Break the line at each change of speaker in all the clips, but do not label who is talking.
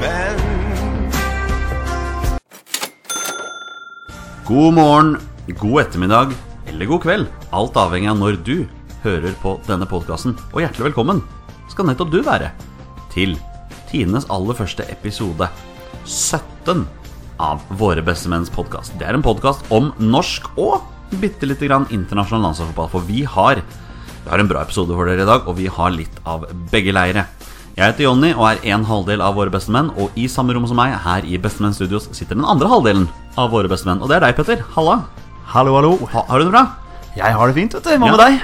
menn.
God morgen, god ettermiddag eller god kveld. Alt avhengig av når du hører på denne podkasten. Og hjertelig velkommen skal nettopp du være til tidenes aller første episode 17 av Våre bestemenns podkast. Det er en podkast om norsk og bitte lite grann internasjonal landslagsfotball, for vi har vi har en bra episode for dere i dag, og vi har litt av begge leire. Jeg heter Jonny og er en halvdel av Våre bestemenn, og i samme rom som meg her i Bestemenn Studios sitter den andre halvdelen av Våre bestemenn, og det er deg, Petter. Halla.
Hallo, hallo.
Ha, har du det bra?
Jeg har det fint, vet du. Hva med
Ja.
deg?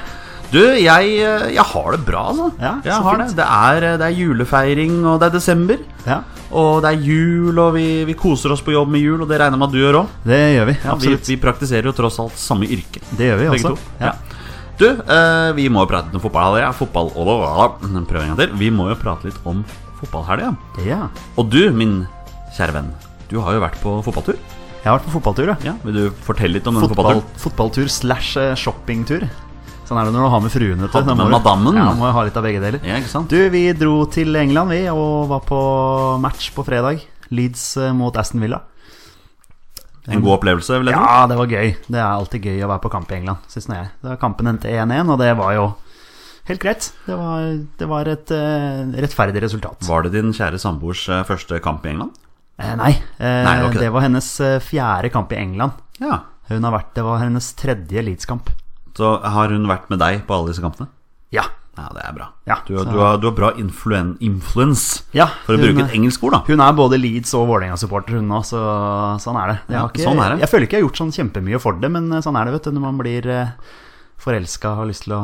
Du, jeg, jeg har det bra, altså.
Ja, så
jeg har det.
fint.
Det er, eh, det er julefeiring, og det er desember.
Ja,
Og det er jul, og vi, vi koser oss på jobb med jul, og det regner jeg med at du gjør òg.
det gjør vi.
vi,
Absolutt.
vi praktiserer jo tross alt samme yrke.
Det gjør vi
Begge
også.
to.
Ja.
Ja. Du, eh, vi må jo prate litt om fotball. Ja, fotball og, prøv en gang til. Vi må jo prate litt om fotballhelga.
ja.
Og du, min kjære venn, du har jo vært på fotballtur.
Jeg har vært på fotballtur, ja.
Ja, Vil du fortelle litt om den
Fotball,
fotballturen?
fotballtur slash eh, shoppingtur. Sånn er det når du har med fruen, vet du.
Hadde
Da må
med
du-
madammen.
Ja, må jo ha litt av begge deler.
Ja, ikke sant?
Du, vi dro til England, vi, og var på match på fredag. Leeds eh, mot Aston Villa.
En god opplevelse, vil jeg tro.
Ja, det var gøy. Det er alltid gøy å være på kamp i England, syns nå jeg. Da kampen endte 1-1, og det var jo helt greit. Det var, det var et eh, rettferdig resultat.
Var det din kjære samboers eh, første kamp i England?
Eh, nei, eh,
Nei, det var
det,
ikke
var
det.
hennes eh, fjerde kamp i England.
Ja.
Hun har vært, det var hennes tredje Leeds-kamp.
Så har hun vært med deg på alle disse kampene?
Ja.
Ja, det er bra.
Ja,
du,
så-
du, har, du har bra influen, influence,
Ja,
for å
hun-
bruke et engelsk ord, da.
Hun er både Leeds- og Vålerenga-supporter, hun nå, så sånn er det. Jeg,
Ja,
har ikke,
sånn er det.
jeg føler ikke jeg har gjort sånn kjempemye for det, men eh, sånn er det, vet du. Når man blir eh, forelska og har lyst til å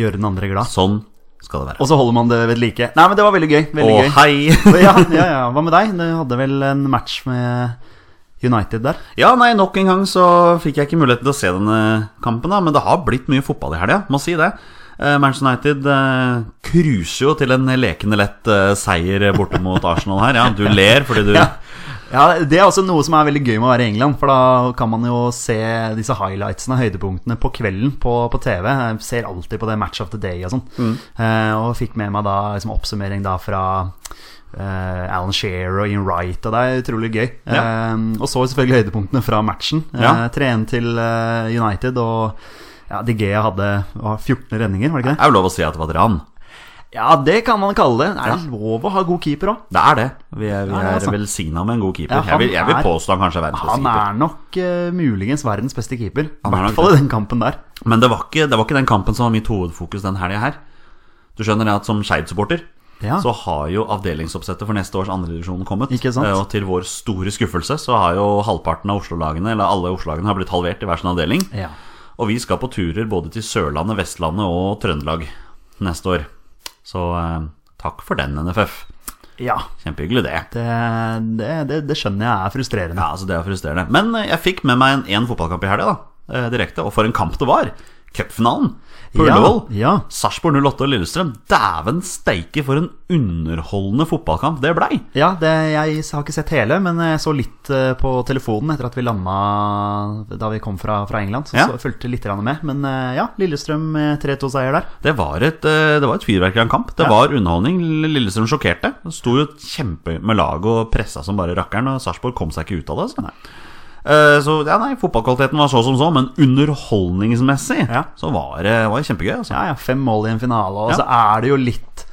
gjøre den andre glad.
Sånn skal det være.
Og så holder man det ved like. Nei, men det var veldig gøy. Veldig
Å,
gøy.
hei!
ja, ja, ja. Hva med deg? Du hadde vel en match med United der?
Ja, nei, nok en gang så fikk jeg ikke muligheten til å se denne kampen, da, men det har blitt mye fotball i helga, må si det. Eh, Manchester United eh, cruiser jo til en lekende lett eh, seier borte mot Arsenal her. Ja, du ler fordi du
Ja. Ja, Det er også noe som er veldig gøy med å være i England. For da kan man jo se disse highlightsene, høydepunktene, på kvelden på, på TV. Jeg ser alltid på det Match of the Day og sånn. Eh, og fikk med meg da liksom, oppsummering da fra eh, Alan Shearer og Ian Wright, og det er utrolig gøy.
Ja.
Eh, og så selvfølgelig høydepunktene fra matchen. Eh,
Ja.
3-1 til eh, United, og ja, De Gea hadde hva, 14 redninger, var det ikke det?
er jo lov å si at det var et ran.
Ja, det kan man kalle det. Er det lov å ha god keeper òg?
Det er det. Vi er, vi
Ja, det er
er
sant.
velsigna med en god keeper.
Ja, han
jeg, vil, jeg vil
er-
påstå han kanskje er verdens beste
Han
keeper.
er nok eh, muligens verdens beste keeper. I
Han er nok
hvert fall i den kampen der.
Men det var, ikke, det var ikke den kampen som var mitt hovedfokus den helga her. Du skjønner det at som Skeid-supporter
Ja.
så har jo avdelingsoppsettet for neste års andredivisjon kommet.
Ikke sant?
Eh, Og til vår store skuffelse så har jo halvparten av Oslo-lagene, eller alle Oslo-lagene, har blitt halvert i hver sin avdeling.
Ja.
Og vi skal på turer både til Sørlandet, Vestlandet og Trøndelag neste år. Så eh, takk for den, NFF.
ja.
Kjempehyggelig, det.
Det, det, det, det skjønner jeg er frustrerende.
Ja, altså Det er frustrerende. Men eh, jeg fikk med meg en, en fotballkamp i helga, da. eh, Direkte. Og for en kamp det var! Cupfinalen på
Ja,
Ullevål.
ja.
Sarpsborg 08 og Lillestrøm. Dæven steike, for en underholdende fotballkamp det blei!
Ja, det, jeg har ikke sett hele, men jeg så litt eh, på telefonen etter at vi landa da vi kom fra, fra England. Så,
Ja.
så fulgte litt grann med. Men eh, ja, Lillestrøm eh, 3-2-seier der.
Det var et, eh, det var et fyrverkeri av en kamp. Det
Ja.
var underholdning. Lillestrøm sjokkerte. Det Sto jo kjempe med laget og pressa som bare rakkeren, og Sarpsborg kom seg ikke ut av det. Altså. Eh, Så ja, nei, Fotballkvaliteten var så som så, men underholdningsmessig
Ja.
så var det var det kjempegøy. Altså.
Ja, ja, fem mål i en finale, og
Ja.
så er det jo litt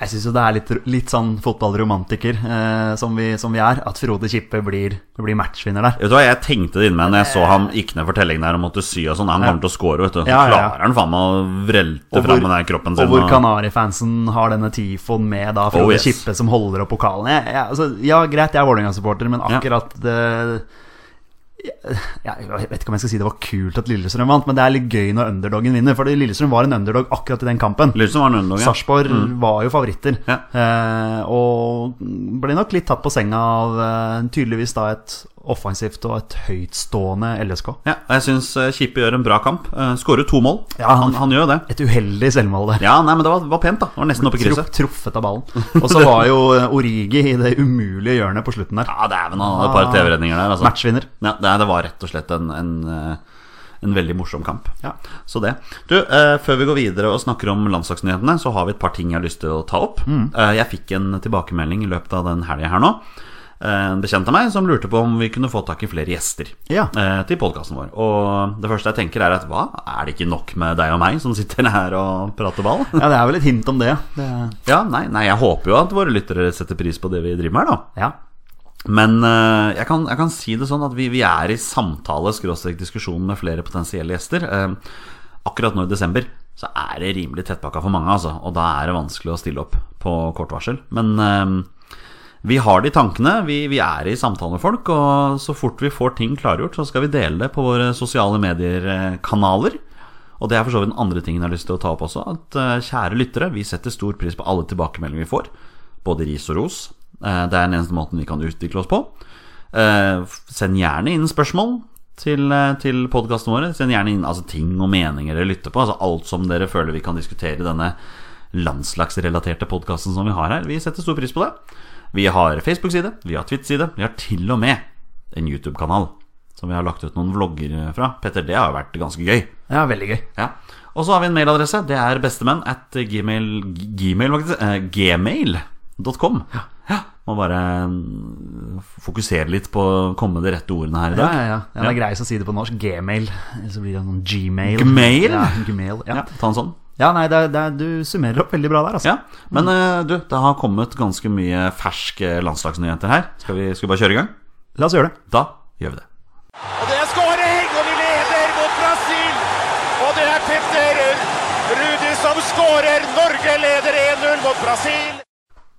Jeg syns jo det er litt, litt sånn fotballromantiker eh, som, vi, som vi er, at Frode Kippe blir, blir matchvinner der.
Vet du hva, Jeg tenkte det inni meg når jeg så han gikk ned for tellingen der og måtte sy og sånn. Han kommer til å score, vet du. Så
Eh. Ja, ja, ja.
klarer han faen meg å
Og
vrelte fram
hvor-
med den her kroppen
Og
sin.
hvor Kanarifansen har denne tifoen med da Frode
Oh, yes.
Kippe som holder opp pokalen. Jeg, jeg, altså, ja, greit, jeg er Vålerenga-supporter, men
Ja.
akkurat det jeg, jeg vet ikke om jeg skal si det var kult at Lillestrøm vant, men det er litt gøy når underdogen vinner. For Lillestrøm var en underdog akkurat i den kampen.
Lillestrøm var en underdog. ja. Mm.
Sarpsborg var jo favoritter,
Ja.
eh, og ble nok litt tatt på senga av eh, tydeligvis da et offensivt og et høytstående LSK.
Ja, og jeg syns eh, Kippe gjør en bra kamp. Eh, Skårer to mål.
Ja, han-
han, han gjør jo det.
Et uheldig selvmål der.
Ja, nei, men det var, var pent, da. Det var nesten oppe i
Truff,
krysset.
truffet av ballen. Og så var jo eh, Origi i det umulige hjørnet på slutten der. Ah.
Ja, dæven, han hadde et par TV-redninger der, altså.
Matchvinner.
Ja, det, det var rett og slett en, en, eh, en veldig morsom kamp.
Ja.
Så det. Du, eh, før vi går videre og snakker om landslagsnyhetene, så har vi et par ting jeg har lyst til å ta opp.
Mm.
Eh, jeg fikk en tilbakemelding i løpet av den helga her nå. Eh, En bekjent av meg som lurte på om vi kunne få tak i flere gjester
Ja.
eh, til podkasten vår. Og det første jeg tenker, er at hva, er det ikke nok med deg og meg som sitter her og prater ball?
Ja, det er vel et hint om det. det
Ja, nei, nei, jeg håper jo at våre lyttere setter pris på det vi driver med her, da.
ja.
Men eh, jeg, kan, jeg kan si det sånn at vi, vi er i samtale skråstrek diskusjon med flere potensielle gjester. Eh, akkurat nå i desember så er det rimelig tettpakka for mange, altså. Og da er det vanskelig å stille opp på kort varsel. Men eh, vi har de tankene. Vi, vi er i samtale med folk. Og så fort vi får ting klargjort, så skal vi dele det på våre sosiale medier-kanaler. Og det er for så vidt den andre tingen jeg har lyst til å ta opp også. At eh, kjære lyttere, vi setter stor pris på alle tilbakemeldinger vi får. Både ris og ros. Eh, det er den eneste måten vi kan utvikle oss på. Eh, f- send gjerne inn spørsmål til, eh, til podkastene våre. Send gjerne inn altså, ting og meninger dere lytter på. Altså alt som dere føler vi kan diskutere i denne landslagsrelaterte podkasten som vi har her. Vi setter stor pris på det. Vi har Facebook-side, vi har Twitter-side, vi har til og med en YouTube-kanal. Som vi har lagt ut noen vlogger eh, fra. Petter, det har jo vært ganske gøy.
ja, veldig gøy.
Ja. Og så har vi en mailadresse. Det er bestemenn at gmail, g- gmail faktisk, eh, gmail.com. Ja. Må bare mm, fokusere litt på å komme med de rette ordene her i
Ja,
dag.
ja, ja. ja, Det er greiest å si det på norsk. Gmail. Så blir det sånn Gmail.
Gmail?
Ja, Gmail, ja.
Ja, ta en sånn.
ja nei, det, er- det, er- du summerer opp veldig bra der, altså.
Ja. Men eh, du, det har kommet ganske mye ferske landslagsnyheter her. Skal vi, skal vi bare kjøre i gang?
La oss gjøre det.
Da gjør vi det.
Og det er skåring, og vi leder mot Brasil! Og det er Petter Rudi som skårer. Norge leder 1-0 mot Brasil.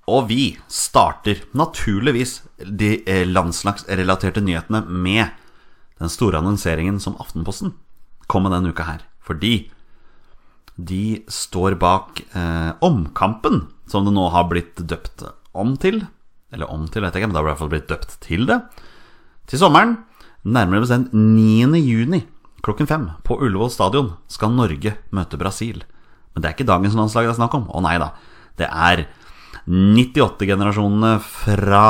Og vi starter naturligvis de eh, landslagsrelaterte nyhetene med den store annonseringen som Aftenposten kom med denne uka her. Fordi de står bak eh, Omkampen, som det nå har blitt døpt om til. Eller om til, vet jeg ikke, men det har i hvert fall blitt døpt til det. Til sommeren, nærmere bestemt 9. juni klokken fem på Ullevål stadion, skal Norge møte Brasil. Men det er ikke dagens landslag det er snakk om. Å nei da. Det er 98-generasjonene fra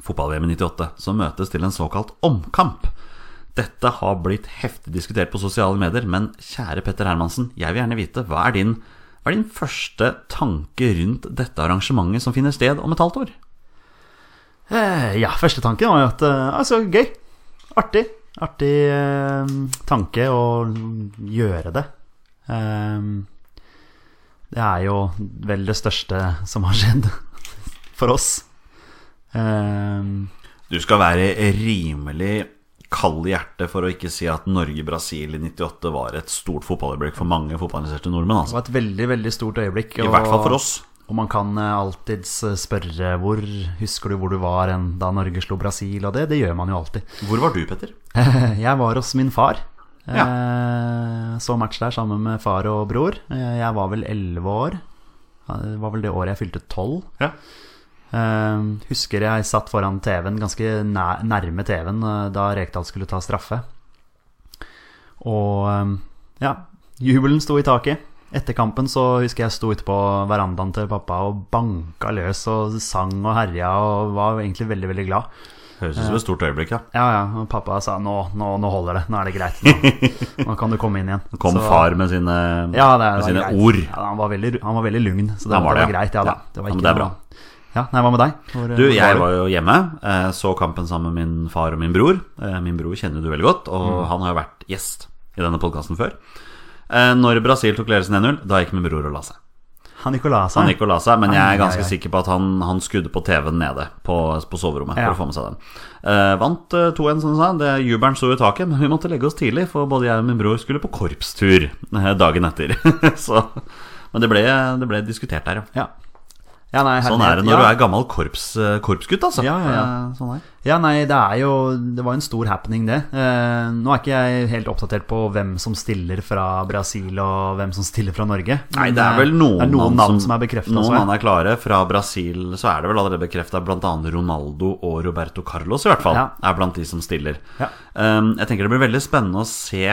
fotball-VM i 98 som møtes til en såkalt omkamp. Dette har blitt heftig diskutert på sosiale medier, men kjære Petter Hermansen, jeg vil gjerne vite hva er din, hva er din første tanke rundt dette arrangementet som finner sted om et halvt år?
Eh, Ja, første tanken var jo at eh, Altså, gøy. Artig. Artig eh, tanke å gjøre det. Ehm, det er jo vel det største som har skjedd for oss. Ehm,
Du skal være rimelig kald i hjertet for å ikke si at Norge-Brasil i 98 var et stort fotballøyeblikk for mange fotballinteresserte nordmenn.
det
Altså.
var et veldig, veldig stort øyeblikk.
I hvert fall for oss.
Og man kan eh, alltids eh, spørre hvor Husker du hvor du var en, da Norge slo Brasil? Og det, det gjør man jo alltid.
Hvor var du, Petter?
Jeg var hos min far. Eh, Så match der sammen med far og bror. Eh, Jeg var vel elleve år. Ja, Det var vel det året jeg fylte tolv.
Ja.
Eh, husker jeg satt foran TV-en, ganske nær, nærme TV-en, eh, da Rekdal skulle ta straffe. Og eh, ja, jubelen sto i taket. Etter kampen så husker jeg sto ute på verandaen til pappa og banka løs og sang og herja og var egentlig veldig, veldig glad.
Høres ut som et stort øyeblikk, da.
Ja, ja. Og pappa sa nå, nå, nå holder det. Nå er det greit. Nå, nå kan du komme inn igjen.
Kom
Så-
far med sine,
ja, det, det
med sine
var greit.
ord.
Ja, han, var veldig, han var veldig lugn, så det,
Han var
var, det
det,
var
ja.
greit. Ja, da.
Ja,
Det var
ja, men
ikke
det er bra.
noe- Ja, nei, Hva med deg? Hvor,
Du,
hvor
jeg
du?
var jo hjemme, eh, så kampen sammen med min far og min bror. Eh, Min bror kjenner du veldig godt, og
Mm.
han har jo vært gjest i denne podkasten før. Eh, Når Brasil tok ledelsen 1-0, da gikk min bror og la seg.
Han gikk og la seg.
Han gikk og la seg, men jeg
Ai,
er ganske
ai, ai.
sikker på at han, han skudde på TV-en nede på, på soverommet.
Ja.
For å få med seg den Eh, Vant eh, 2-1, som du sa. Det Jubelen sto i taket, men vi måtte legge oss tidlig, for både jeg og min bror skulle på korpstur eh, dagen etter. Så, men det ble, det ble diskutert der, ja.
Ja. Ja, nei,
Sånn
herlighet.
er det når
ja.
du er gammel korps, eh, korpsgutt, altså.
Ja, ja, ja.
Eh, Sånn er.
Ja, nei, det er jo Det var en stor happening, det. Eh, nå er ikke jeg helt oppdatert på hvem som stiller fra Brasil, og hvem som stiller fra Norge.
Nei,
Men,
det er
eh,
vel noen,
det er noen navn som, er bekrefta.
Noen navn er klare. Fra Brasil så er det vel allerede bekrefta bl.a. Ronaldo og Roberto Carlos, i hvert fall.
Ja.
Er blant de som stiller.
Ja.
Um, jeg tenker det blir veldig spennende å se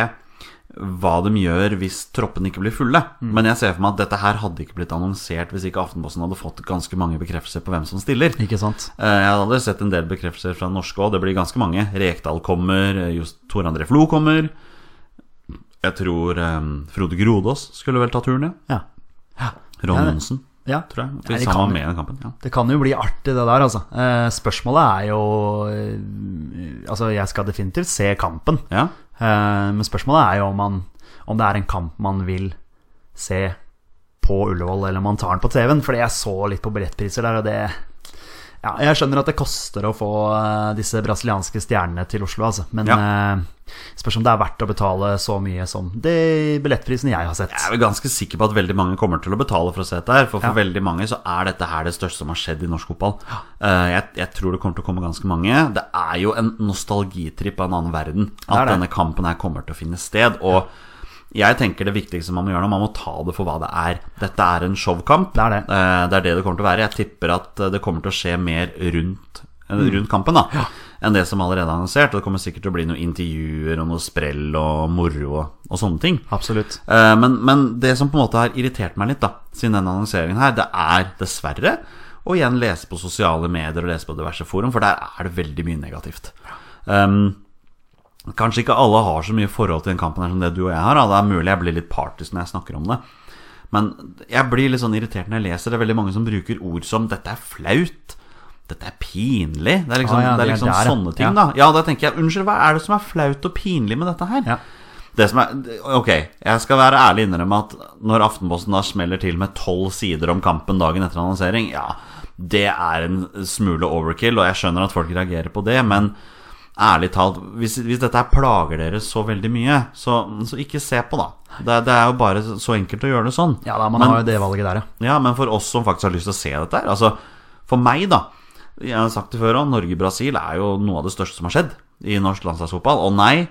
hva de gjør hvis troppene ikke blir fulle.
Mm.
Men jeg ser for meg at dette her hadde ikke blitt annonsert hvis ikke Aftenposten hadde fått ganske mange bekreftelser på hvem som stiller.
Ikke sant?
Eh, Jeg hadde allerede sett en del bekreftelser fra norske òg. Det blir ganske mange. Rekdal kommer, eh, Johs- Tor André Flo kommer. Jeg tror eh, Frode Grodås skulle vel ta turen, ja.
Ja.
Ron
Ja, det-
Monsen,
ja.
tror jeg.
Nei,
Hvis
de
han var
kan-
med i den kampen. Ja.
Det kan jo bli artig, det der, altså. Eh, spørsmålet er jo eh, Altså, jeg skal definitivt se kampen.
ja.
Eh, men spørsmålet er jo om, man, om det er en kamp man vil se på Ullevål, eller om man tar den på TV-en. Fordi jeg så litt på billettpriser der, og det ja, Jeg skjønner at det koster å få eh, disse brasilianske stjernene til Oslo, altså. Men eh, spørs om det er verdt å betale så mye som de billettprisene jeg har sett.
Jeg er vel ganske sikker på at veldig mange kommer til å betale for å se dette her. For for
Ja.
veldig mange så er dette her det største som har skjedd i norsk fotball. Eh, jeg, jeg tror det kommer til å komme ganske mange. Det er jo en nostalgitripp av en annen verden at
er det.
denne kampen her kommer til å finne sted. Og jeg tenker det viktigste man må gjøre nå, man må ta det for hva det er. Dette er en showkamp.
Det er det.
Eh, det er det det kommer til å være. Jeg tipper at eh, det kommer til å skje mer rundt, eh,
Mm.
rundt kampen da enn det som allerede er annonsert. Og det kommer sikkert til å bli noen intervjuer og noe sprell og moro og, og sånne ting.
Absolutt.
Eh, Men, men det som på en måte har irritert meg litt da siden denne annonseringen her, det er dessverre å igjen lese på sosiale medier og lese på diverse forum, for der er det veldig mye negativt. Um, kanskje ikke alle har så mye forhold til den kampen her som det du og jeg har. Da. Det er mulig jeg blir litt partisk når jeg snakker om det. Men jeg blir litt sånn irritert når jeg leser det. er veldig mange som bruker ord som 'dette er flaut'. Dette er pinlig. Det er liksom,
Ah, ja,
det er
det er
liksom
der, ja.
sånne ting,
Ja.
da. Ja, da tenker jeg, unnskyld, hva er det som er flaut og pinlig med dette her?
Ja.
Det som er, ok, jeg skal være ærlig innrømme at når Aftenposten da smeller til med tolv sider om kampen dagen etter annonsering, ja, det er en smule overkill, og jeg skjønner at folk reagerer på det, men ærlig talt, hvis, hvis dette her plager dere så veldig mye, så, så ikke se på, da. Det, det er jo bare så enkelt å gjøre det sånn.
Ja da, man
Men- Altså-
har jo det valget der, ja.
ja, men for oss som faktisk har lyst til å se dette her Altså, for meg da Jeg har sagt det før også, Norge-Brasil er jo noe av det største som har skjedd I norsk landslagsfotball Og nei,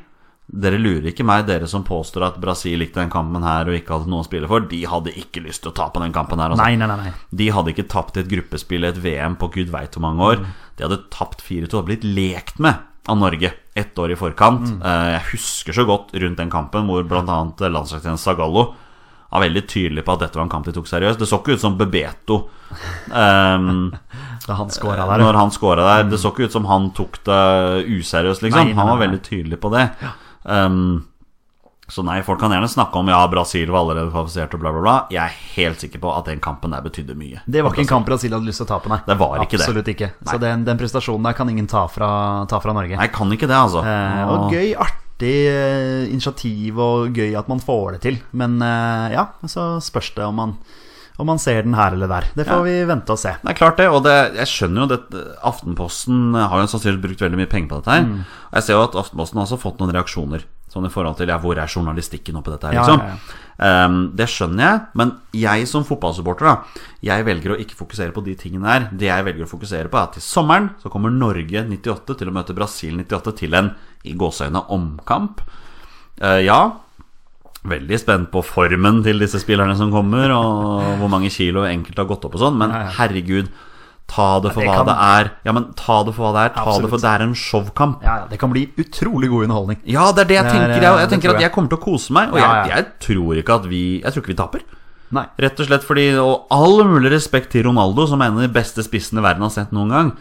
dere lurer ikke meg Dere som påstår at Brasil likte den kampen her Og ikke hadde noe å spille for De hadde ikke lyst til å tape den kampen her altså.
Nei, nei, nei. nei.
De hadde ikke tapt i et gruppespill i et VM på gud veit hvor mange
Mm.
år. De hadde tapt 4-2 og blitt lekt med av Norge ett år i forkant.
Mm.
Eh, Jeg husker så godt rundt den kampen hvor bl.a. landslagstjener Zagallo var veldig tydelig på at dette var en kamp de tok seriøst. Det så ikke ut som Bebeto um,
Da han scora der.
når han scora der. Det så ikke ut som han tok det useriøst,
Nei,
liksom.
Mm. nei,
Han var
nei, nei.
veldig tydelig på det. Um, så nei, folk kan gjerne snakke om ja, Brasil var allerede kvalifisert og bla, bla, bla. Jeg er helt sikker på at den kampen der betydde mye.
Det var ikke en kamp Brasil hadde lyst til å tape, nei.
Det var ikke det.
Absolutt ikke. Så den, den prestasjonen der kan ingen ta fra, ta fra Norge.
Nei, kan ikke det, altså.
Eh, og gøy, artig eh, initiativ og gøy at man får det til. Men eh, ja, så spørs det om man, om man ser den her eller der. Det får
Ja.
vi vente og se.
Det er klart det, og det, jeg skjønner jo det Aftenposten har jo sannsynligvis brukt veldig mye penger på dette
Mm.
her. Og jeg ser jo at Aftenposten har også fått noen reaksjoner. Sånn i forhold til ja, hvor er journalistikken oppi dette her,
Ja,
liksom.
ja,
Ehm, det skjønner jeg, men jeg som fotballsupporter, da. Jeg velger å ikke fokusere på de tingene her. Det jeg velger å fokusere på, er at til sommeren så kommer Norge 98 til å møte Brasil 98 til en i gåseøyne omkamp. Eh, ja, Veldig spent på formen til disse spillerne som kommer, og hvor mange kilo enkelte har gått opp og sånn, men herregud, ta det for
det
hva
kan-
det er. Ja, men ta det for hva det er. Ta det
Absolutt.
for Det er en showkamp.
Ja, ja, det kan bli utrolig god underholdning.
Ja, det er det jeg
Det er,
tenker. Jeg,
eh, det
jeg tenker
tror
at
jeg.
jeg kommer til å kose meg, og
Ja,
jeg,
ja.
jeg tror ikke at vi Jeg tror ikke vi taper.
Nei.
Rett og slett fordi Og all mulig respekt til Ronaldo, som er en av de beste spissene verden har sett noen gang,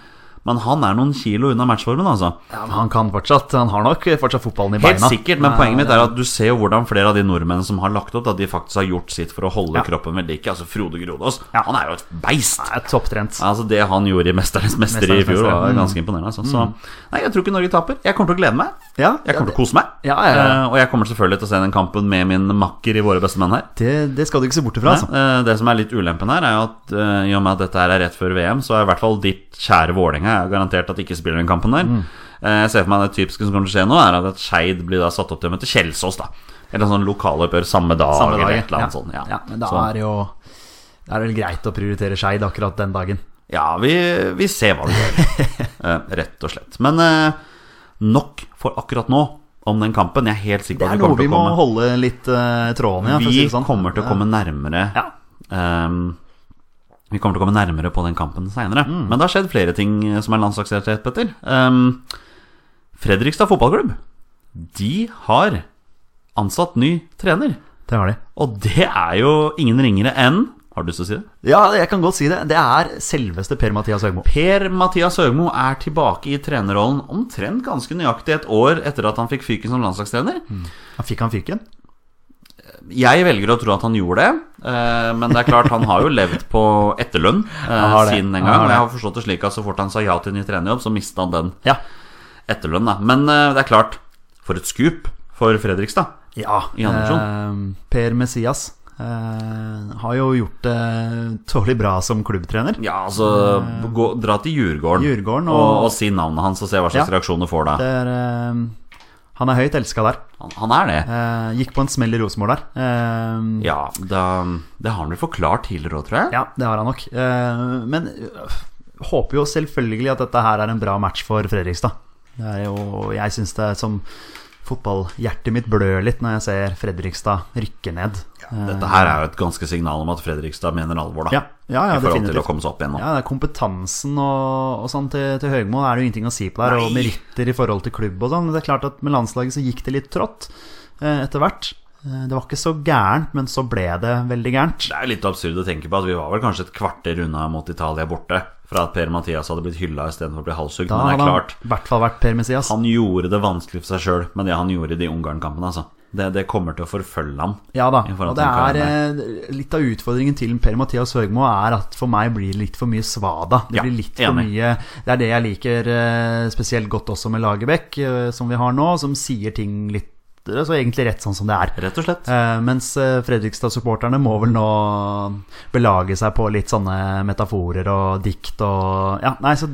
men han er noen kilo unna matchformen, altså.
Ja, men han kan fortsatt. Han har nok fortsatt fotballen i
Helt
beina. Eh,
sikkert, men poenget mitt er at du ser jo hvordan flere av de nordmenn som har lagt opp, at de faktisk har gjort sitt for å holde
Ja.
kroppen ved like. Altså Frode Grodås, han er jo et beist.
Han er Topptrent.
Altså Det han gjorde i 'Mesternes mester'
Mesternes
i fjor,
mester,
var
mm.
ganske imponerende. Altså. Så nei, jeg tror ikke Norge taper. Jeg kommer til å glede meg.
Ja,
Jeg kommer til å kose meg.
Ja, ja, ja.
Eh, og jeg kommer selvfølgelig til å se den kampen med min makker i Våre beste menn her.
det, det skal du ikke se bort ifra, altså.
Eh, Det som er litt ulempen her, er jo at eh, i og med at dette her er rett før VM, så er i hvert fall ditt kjære Vålerenga er garantert at de ikke spiller den kampen der.
Mm.
Eh, Jeg ser for meg det typiske som kommer til å skje nå, er at Skeid blir da satt opp til å møte Kjelsås, da. Eller sånn lokaloppgjør samme dag,
Samme dag,
eller
ja.
et eller annet sånt. Ja.
Ja, men da
så,
er det jo Da er det vel greit å prioritere Skeid akkurat den dagen.
ja vi, vi ser hva det gjør, Eh, rett og slett. Men eh, nok for akkurat nå om den kampen. Jeg er helt sikker
Det
på
er
at vi
noe
kommer
vi
til
må
å komme
holde litt eh, tråden i. ja, for å si
Vi
det sånn.
kommer til å komme nærmere
Ja.
Ehm, Vi kommer til å komme nærmere på den kampen seinere.
Mm.
Men det har skjedd flere ting eh, som er landslagsrelatert, Petter. Ehm, Fredrikstad fotballklubb De har ansatt ny trener.
Det har de.
Og det er jo ingen ringere enn Har du lyst til å si det?
Ja, jeg kan godt si det. Det er selveste Per-Mathias Høgmo.
Per-Mathias Høgmo er tilbake i trenerrollen omtrent ganske nøyaktig et år etter at han fikk fyken som landslagstrener.
Han Fikk han fyken?
Jeg velger å tro at han gjorde det, eh, men det er klart han har jo levd på etterlønn eh,
har det.
siden den
Han har
gang. Og
det.
jeg har forstått det slik at så fort han sa ja til ny trenerjobb, så mista han den
Ja.
etterlønn. Da. Men eh, det er klart, for et skup for Fredrikstad.
ja.
I
eh, per Messias eh, har jo gjort det tålelig bra som klubbtrener.
Ja, altså gå, Dra til Djurgården,
eh, Djurgården
og, og,
og-
si navnet hans og se hva slags
Ja.
reaksjoner får da.
Det er, eh, han er høyt elska der.
Han, han er det.
Eh, gikk på en smell i Rosenborg der. Eh,
Ja, da, det har han vel forklart tidligere òg, tror jeg.
Ja, det har han nok. Eh, Men øh, håper jo selvfølgelig at dette her er en bra match for Fredrikstad. Det er jo, jeg syns det er som fotballhjertet mitt blør litt når jeg ser Fredrikstad rykke ned.
Dette her er jo et ganske signal om at Fredrikstad mener alvor, da.
Ja, ja, ja
I forhold til å
definitivt.
komme seg opp igjen nå.
Ja, det er kompetansen og, og sånn til, til Høgmo er det jo ingenting å si på der. Og
Nei.
meritter i forhold til klubb og sånn. Det er klart at med landslaget så gikk det litt trått eh, etter hvert. Eh, Det var ikke så gærent, men så ble det veldig gærent.
Det er jo litt absurd å tenke på at vi var vel kanskje et kvarter unna mot Italia borte fra at Per Mathias hadde blitt hylla istedenfor å bli halshugd.
Da
Men det
hadde
er
han
klart,
i hvert fall vært Per Messias.
han gjorde det vanskelig for seg sjøl med det han gjorde i de Ungarn-kampene. Altså. Det, det kommer til å forfølge ham.
Ja da,
i forhold
og
til
det er
den
eh, litt av utfordringen til Per-Mathias Høgmo er at for meg blir det litt for mye svada. Det
Ja,
blir litt for
enig.
mye Det er det jeg liker eh, spesielt godt også med Lagerbäck, eh, som vi har nå, som sier ting litt eh, Så egentlig rett sånn som det er.
Rett og slett.
Eh, mens eh, Fredrikstad-supporterne må vel nå belage seg på litt sånne metaforer og dikt og Ja, nei, så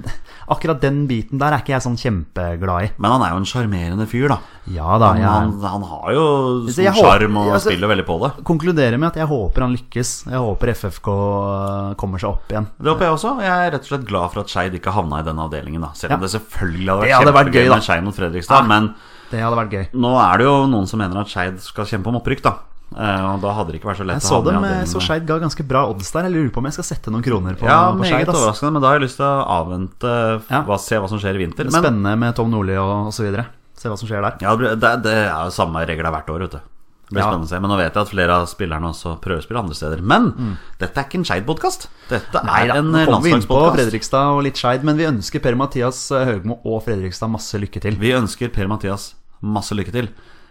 akkurat den biten der er ikke jeg sånn kjempeglad i.
Men han er jo en sjarmerende fyr, da.
Ja da,
Han,
jeg
han, han har jo
Så jeg
stor sjarm
håper-
og
altså-
spiller veldig på det.
konkluderer med at jeg håper han lykkes. Jeg håper FFK eh, kommer seg opp igjen.
Det håper jeg også. Jeg er rett og slett glad for at Skeid ikke havna i den avdelingen. da Selv om
Ja.
det selvfølgelig hadde vært,
Det hadde vært
kjempegøy
gøy, da.
med Skeid mot Fredrikstad.
Ja.
Men
Det hadde vært gøy.
nå er det jo noen som mener at Skeid skal kjempe om opprykk, da. Eh, Og da hadde det ikke vært så lett
Jeg så dem,
avdelingen
eh, så
med-
Skeid ga ganske bra odds der. Jeg lurer på om jeg skal sette noen kroner på,
Ja,
på
meget
Skeid. ass.
overraskende, men da har jeg lyst til å avvente
Ja.
hva, Se hva som skjer i vinter.
Det er
Men
Spennende med Tom Nordli og, og så videre. Se hva som skjer der.
ja, det, blir- det, det er jo samme regler hvert år, vet du. Det blir
Ja.
spennende å se, Men nå vet jeg at flere av spillerne også prøver å spille andre steder. Men
Mm.
dette er ikke en Skeid-podkast. Dette er
Neida,
en eh,
nå kom vi inn på
landslagspodkast.
Fredrikstad og litt Skeid, men vi ønsker Per-Mathias Høgmo og Fredrikstad masse lykke til.
Vi ønsker Per-Mathias masse lykke til.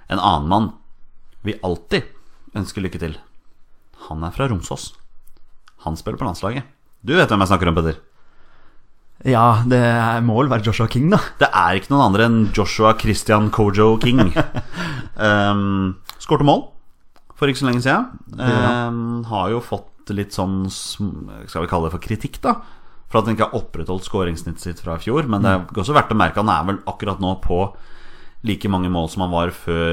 En annen mann vi alltid ønsker lykke til, han er fra Romsås. Han spiller på landslaget. Du vet hvem jeg snakker om, Petter.
Ja, det er- må vel være Joshua King, da.
Det er ikke noen andre enn Joshua Christian Kojo King. um, Skårte mål for ikke så lenge siden. Um, har jo fått litt sånn sm- Skal vi kalle det for kritikk, da? For at han ikke har opprettholdt skåringssnittet sitt fra i fjor. Men det er også verdt å merke han er vel akkurat nå på like mange mål som han var før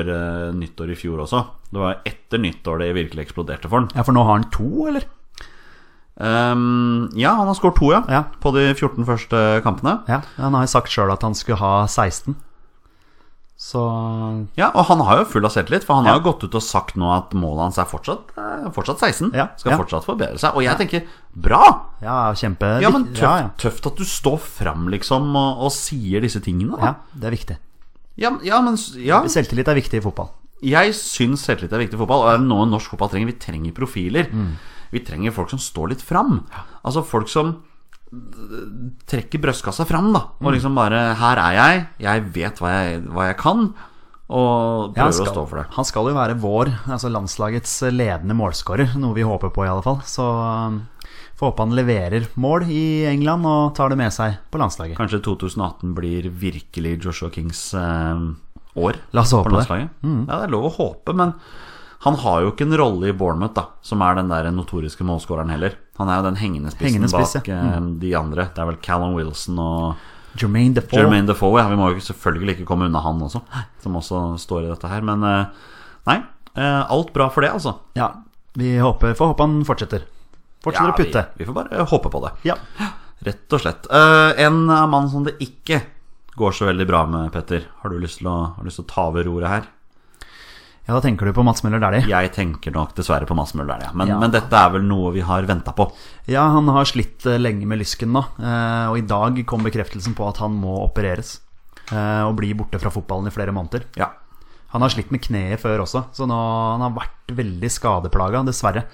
eh, nyttår i fjor også. Det var etter nyttår det virkelig eksploderte for han.
Ja, For nå har han to, eller?
Um, ja, han har skåret to, ja,
Ja.
På de 14 første kampene.
Ja, Han har jo sagt sjøl at han skulle ha 16. Så
Ja, og han har jo full av selvtillit, for han har jo gått ut og sagt nå at målet hans er fortsatt, eh, fortsatt 16.
Ja,
Skal
ja.
fortsatt forbedre seg. Og jeg tenker bra!
ja, kjempe
Ja, men tøft,
ja, ja.
tøft at du står fram, liksom, og, og sier disse tingene.
ja,
da.
det er viktig.
Ja, ja, men s- ja.
Selvtillit er viktig i fotball.
Jeg syns selvtillit er viktig i fotball, og det er noe norsk fotball trenger. Vi trenger profiler.
Mm.
Vi trenger folk som står litt fram. Altså folk som øh, trekker brystkassa fram, da. Og
Mm.
liksom bare Her er jeg, jeg vet hva jeg, hva jeg kan, og
Ja, han,
prøver å
skal,
stå for det.
han skal jo være vår, altså landslagets ledende målskårer, noe vi håper på i alle fall. Så um, får håpe han leverer mål i England og tar det med seg på landslaget.
Kanskje 2018 blir virkelig Joshua Kings eh, år
La oss håpe
for
det. Mm.
landslaget. Ja, det er lov å håpe, men han har jo ikke en rolle i Bournemouth, da, som er den der notoriske målskåreren heller. Han er jo den hengende spissen
Hengende spiss,
bak
ja. Mm.
eh, de andre. Det er vel Callum Wilson og
Jermaine Defoe.
Jermaine Defoe. Ja, vi må jo selvfølgelig ikke komme unna han også, som også står i dette her. Men eh, nei, eh, alt bra for det, altså.
Ja, vi håper, får håpe han fortsetter. Fortsetter å putte.
Vi, vi får bare eh, håpe på det.
Ja.
Rett og slett. Eh, en mann som det ikke går så veldig bra med, Petter. Har du lyst til å, har du lyst til å ta over roret her?
ja, da tenker du på Mats Møller Dæhlie.
Jeg tenker nok dessverre på Mads Møller, ja. Men,
Ja.
men dette er vel noe vi har venta på.
Ja, han har slitt eh, lenge med lysken nå, eh, og i dag kom bekreftelsen på at han må opereres. eh, Og bli borte fra fotballen i flere måneder.
Ja.
Han har slitt med kneet før også, så nå, han har vært veldig skadeplaga, dessverre.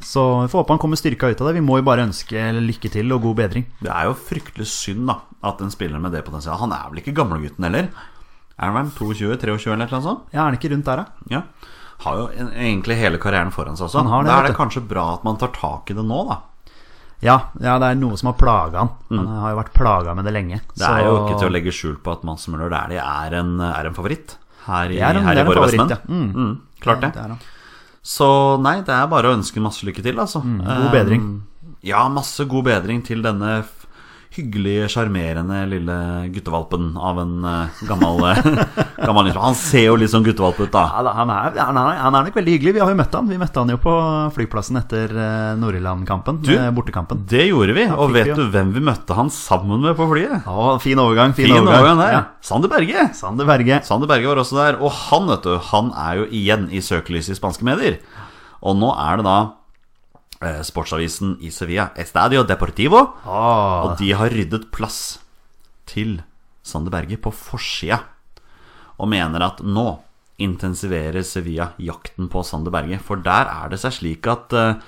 Så vi får håpe han kommer styrka ut av det. Vi må jo bare ønske lykke til og god bedring.
Det er jo fryktelig synd da at en spiller med det potensialet Han er vel ikke gamlegutten heller? Er han vel 22-23 eller noe sånt?
Ja, Er han ikke rundt der, da?
Ja. har jo en- egentlig hele karrieren foran seg også.
Han har det,
da
vet
er det
du.
kanskje bra at man tar tak i det nå, da.
Ja, ja, det er noe som har plaga han. Han har jo vært plaga med det lenge.
Mm. Det er jo ikke til å legge skjul på at Mads Møller Dæhlie er, en- er en favoritt her i,
Det er en-
her
det
i
er en
våre
favoritt,
Vestmenn.
ja. Mm.
Mm, klart det.
Det er han.
Så nei, det er bare å ønske masse lykke til, altså.
Mm, god bedring.
Eh, Ja, masse god bedring til denne f- hyggelige, sjarmerende lille guttevalpen av en eh, gammel, eh, gammel innslag. Han ser jo litt sånn guttevalp ut, da.
Ja, da, han, er, han, er, han er nok veldig hyggelig. Vi har jo møtt han Vi møtte han jo på flyplassen etter eh, Nord-Irland-kampen. eh, Bortekampen.
Det gjorde vi, og
fikk vi,
vet
ja.
du hvem vi møtte han sammen med på flyet?
Å, fin overgang. Fin,
Fin overgang der.
Ja.
Sander Berge.
Sander Berge.
Eh, Sander Berge var også der, og han vet du, han er jo igjen i søkelyset i spanske medier. Og nå er det da eh, sportsavisen i Sevilla, Estadio Deportivo,
Å,
og de har ryddet plass til Sander Berge på forsida. Og mener at nå intensiverer Sevilla jakten på Sander Berge, for der er det seg slik at eh,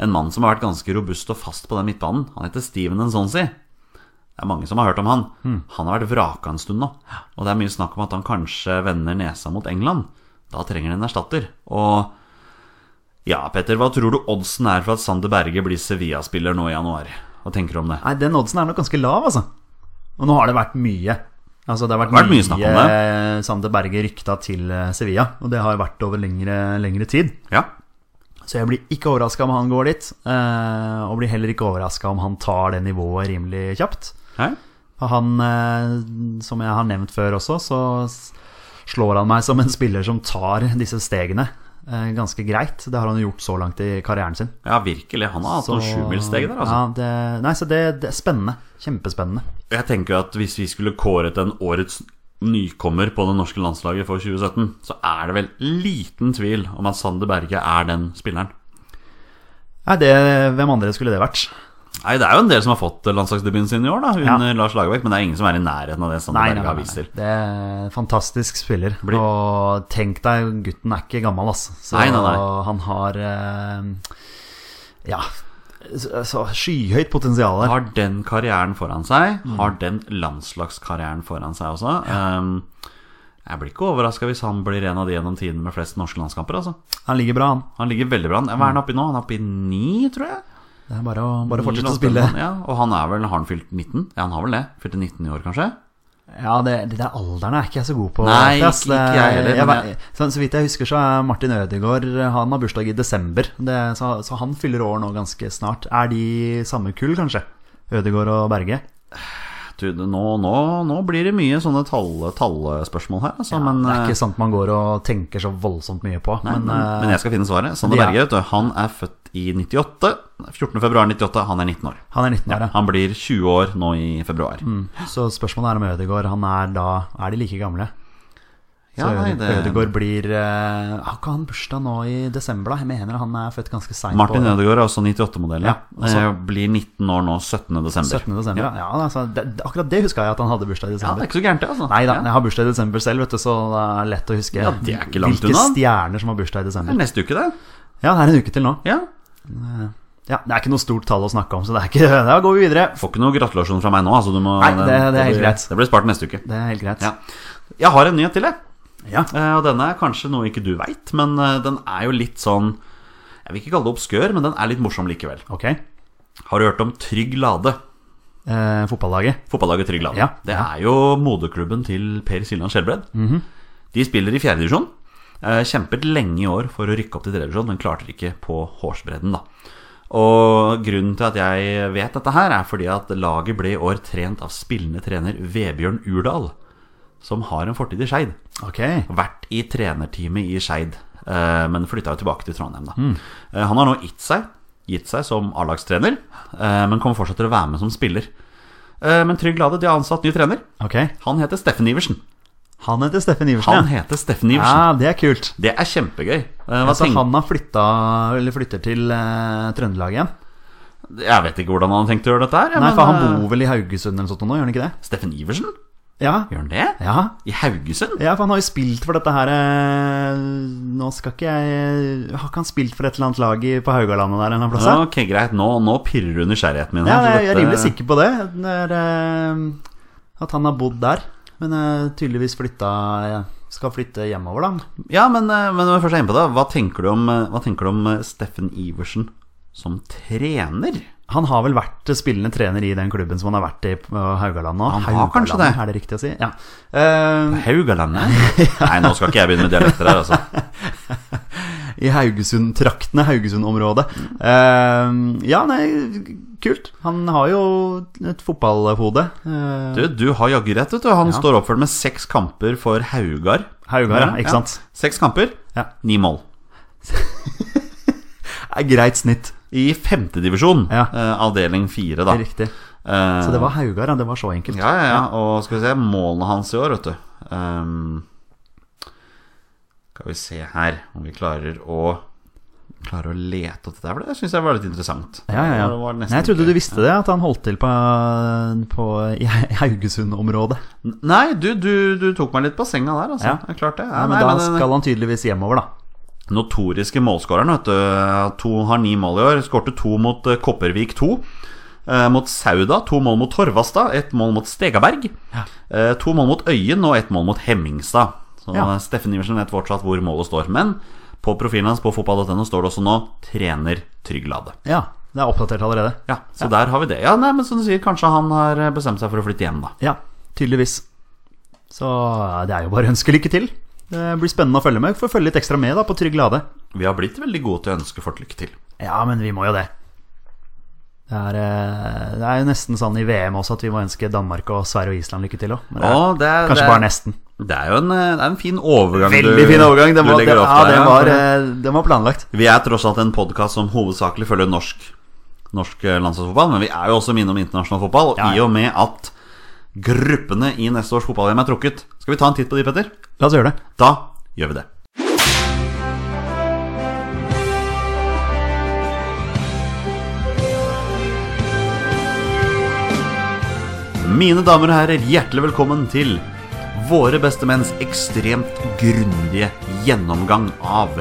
en mann som har vært ganske robust og fast på den midtbanen, han heter Steven Nsonsi. Det er mange som har hørt om han. Han har vært vraka en stund nå. Og det er mye snakk om at han kanskje vender nesa mot England. Da trenger han en erstatter. Og ja, Petter, hva tror du oddsen er for at Sander Berge blir Sevilla-spiller nå i januar? Hva tenker du om det?
Nei, den oddsen er nok ganske lav, altså. Og nå har det vært mye. Altså, det har vært,
Det har vært mye snakk om det.
eh, Sander Berge rykta til eh, Sevilla, og det har jo vært over lengre, lengre tid.
Ja,
Så jeg blir ikke overraska om han går dit, eh, og blir heller ikke overraska om han tar det nivået rimelig kjapt.
Hei?
For Han, eh, som jeg har nevnt før også, så s- slår han meg som en spiller som tar disse stegene eh, ganske greit. Det har han jo gjort så langt i karrieren sin.
ja virkelig. Han har hatt
Så-
noen sjumilssteg der, altså.
Ja, det, nei, så det, det er spennende. Kjempespennende.
Jeg tenker jo at hvis vi skulle kåret en årets nykommer på det norske landslaget for 2017, så er det vel liten tvil om at Sander Berge er den spilleren.
Nei, det, hvem andre skulle det vært?
Nei, Det er jo en del som har fått landslagsdebuten sin i år, da, under Lars Lagerbäck. Men det er ingen som er i nærheten av det Sander
Nei, nei,
Berge
nei,
har vist
nei.
til.
Det er en fantastisk spiller.
Blir-
Og tenk deg, gutten er ikke gammel, altså. Så
Nei, nei, nei.
han har eh, Ja, så, så skyhøyt potensial der.
Har den karrieren foran seg.
Mm.
Har den landslagskarrieren foran seg også. Ehm, jeg blir ikke overraska hvis han blir en av de gjennom tiden med flest norske landskamper. altså
Han ligger bra, han.
Han ligger veldig bra. Hva er han oppe i nå? Han er oppe i ni, tror jeg.
Det er bare å, bare å fortsette å
Landskamper,
spille.
Ja, og han er vel, har han fylt 19? Ja, han har vel det. Fylte 19 i år, kanskje?
Ja, det, det der alderen er ikke jeg så god på.
Nei,
ass.
ikke- ikke jeg heller,
jeg
men
vet- så, så vidt jeg husker, så er Martin Ødegaard Han har bursdag i desember. Det, så, så han fyller år nå ganske snart. Er de samme kull, kanskje? Ødegaard og Berge?
Du, nå, nå, nå blir det mye sånne tall- tallespørsmål her, altså. men,
det
eh,
er ikke sant man går og tenker så voldsomt mye på.
Nei, men,
men, eh,
men jeg skal finne svaret. Sander
de er-
Berge vet du, han er født i 98. 14. februar 98. Han er 19 år.
han er Mm. 19 år, ja.
Han blir 20 år nå i februar.
Så spørsmålet er om Ødegaard han er da Er de like gamle? Så
Ja, nei,
Øde-
det...
Ødegaard blir eh, Har ikke han bursdag nå i desember, da? Jeg mener han er født ganske seint.
Martin Ødegaard er også 98-modell. Ja,
Ja, altså-
Eh, Blir 19 år nå 17. desember.
17. desember. Ja, ja altså, det, det- akkurat det huska jeg at han hadde bursdag i
Ja, det
desember.
er ikke så gærent, det, altså.
Nei da,
Ja.
jeg har bursdag i desember selv, vet du, så det er lett å huske
Ja, det er ikke langt
hvilke
unna.
stjerner som har bursdag i
Det
desember.
er neste uke, det.
Ja, det er en uke til nå.
Ja.
Ja, Det er ikke noe stort tall å snakke om, så det er ikke Da går vi videre.
Får ikke noe gratulasjon fra meg nå, altså. Du må,
Nei, det- det er helt greit.
Det blir spart neste uke.
Det er helt greit.
Ja. Jeg har en nyhet til, jeg.
Ja.
Eh, Og denne er kanskje noe ikke du veit, men eh, den er jo litt sånn Jeg vil ikke kalle det obskør, men den er litt morsom likevel.
Ok.
Har du hørt om Trygg Lade?
Eh, fotballaget.
Fotballaget Trygg Lade.
Ja. Mhm.
Det er jo moderklubben til Per Siljan Skjelbred. De spiller i fjerdedivisjon. Kjempet lenge i år for å rykke opp til tredjedivisjon, men klarte det ikke på hårsbredden, da. Og grunnen til at jeg vet dette her, er fordi at laget ble i år trent av spillende trener Vebjørn Urdal, som har en fortid i Skeid.
Ok.
Vært i trenerteamet i Skeid, eh, men flytta jo tilbake til Trondheim, da.
Mm.
Eh, Han har nå gitt seg, gitt seg som A-lagstrener, eh, men kommer fortsatt til å være med som spiller. Eh, Men Trygg Lade de har ansatt ny trener.
ok
Han heter Steffen Iversen.
Han heter Steffen Iversen.
Han
ja.
heter Steffen Iversen.
Ja, det er kult.
Det er kjempegøy. Eh, Hva
Altså,
tenk-
han har flytta, eller flytter til eh, Trøndelag igjen.
Jeg vet ikke hvordan han har tenkt å gjøre dette her. ja,
Nei,
men,
for han
eh,
bor vel i Haugesund eller noe sånt nå, gjør han ikke det?
Steffen Iversen?
Ja.
Gjør han det?
ja.
I Haugesund?
Ja, for han har jo spilt for dette her eh, Nå skal ikke jeg Har ikke han spilt for et eller annet lag i, på Haugalandet der en eller annen plass?
Ja,
her?
ok, greit. Nå, nå pirrer du nysgjerrigheten min.
Ja,
her, så
jeg, jeg er
dette-
rimelig sikker på det. Når, eh, at han har bodd der. Men eh, tydeligvis flytta eh, skal flytte hjemover, da.
Ja, men, eh, men når vi først er inne på det, hva tenker du om, eh, hva tenker du om eh, Steffen Iversen som trener?
Han har vel vært spillende trener i den klubben som han har vært i på Haugaland nå.
Han har kanskje
Haugaland,
det.
Er det riktig å si? Ja. Eh,
Haugalandet? Nei, nå skal ikke jeg begynne med dialekter her, altså.
I Haugesund-traktene, Haugesund-området. Eh, ja, nei, kult. Han har jo et fotballhode. Eh,
Du, du har jaggu rett, vet du. Han står oppført med seks kamper for Haugar.
Haugar, ja, ikke sant?
Seks kamper,
Ja.
ni mål.
er Eh, greit snitt.
I femtedivisjon,
Ja.
ja. avdeling fire, da.
Riktig.
Eh,
Så det var Haugar, ja. Det var så enkelt.
Ja, ja, ja. Og skal vi se, målene hans i år, vet du. Ehm, skal vi se her om vi klarer å Klarer å lete etter det. For det syns jeg var litt interessant.
Ja, ja, ja.
Det var
Nei,
nesten
jeg trodde
ikke-
du visste det, at han holdt til på, på, i Haugesund-området.
Nei, du, du, du tok meg litt på senga der, altså.
Ja.
Det er klart det. Ja,
Ja, men
nei,
da
men den-
skal han tydeligvis hjemover, da.
notoriske målskåreren. Vet du. To, har ni mål i år. Skårte to mot eh, Kopervik 2. Eh, mot Sauda. To mål mot Torvastad. Ett mål mot Stegaberg. Eh, to mål mot Øyen og ett mål mot Hemmingstad. Så eh,
Ja.
Steffen Iversen vet fortsatt hvor målet står. Men på profilen hans på fotball.no står det også nå 'trener Trygglade'.
Ja, det er oppdatert allerede.
Ja, så der har vi det. Ja, nei, men som du sier, kanskje han har eh, bestemt seg for å flytte hjem, da.
Ja, tydeligvis. Så ja, det er jo bare å ønske lykke til. Det blir spennende å følge med. Får følge litt ekstra med da på Trygg Lade.
Vi har blitt veldig gode til å ønske folk lykke til.
Ja, men vi må jo det. Det er, eh, det er jo nesten sånn i VM også at vi må ønske Danmark og Sverige og Island lykke til òg.
Å, det er-
Kanskje
det er-
bare nesten.
Det er jo en, eh, det er en fin overgang
Veldig fin overgang. Den
du
var,
legger
den,
opp
ja,
der,
den, var,
for-
eh, den var planlagt.
Vi er tross alt en podkast som hovedsakelig følger norsk, norsk eh, landslagsfotball, men vi er jo også minne om internasjonal fotball. Og
Ja, ja.
i og med at gruppene i neste års fotball-VM er trukket Skal vi ta en titt på de, Petter?
La oss gjøre det.
Da gjør vi det. Mine damer og herrer, hjertelig velkommen til våre beste menns ekstremt grundige gjennomgang av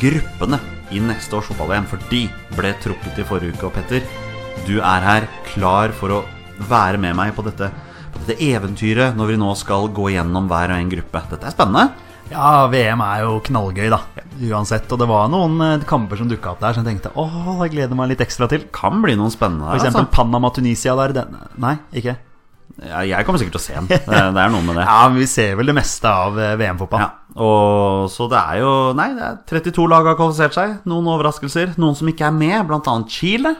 gruppene i neste års fotball-VM, for de ble trukket i forrige uke. Og Petter, du er her klar for å være med meg på dette, på dette eventyret når vi nå skal gå gjennom hver og en gruppe. Dette er spennende.
Ja, VM er jo knallgøy, da. Uansett. Og det var noen eh, kamper som dukka opp der som jeg tenkte åh, jeg gleder meg litt ekstra til.
Kan bli noen spennende
For
her.
eksempel
Altså.
Panama-Tunisia der. Den, nei, ikke?
Ja, jeg kommer sikkert til å se den. Det, det er noe med det.
Ja, men vi ser vel det meste av eh, VM-fotball.
Ja, og Så det er jo Nei, det er 32 lag har kvalifisert seg. Noen overraskelser. Noen som ikke er med, bl.a. Chile.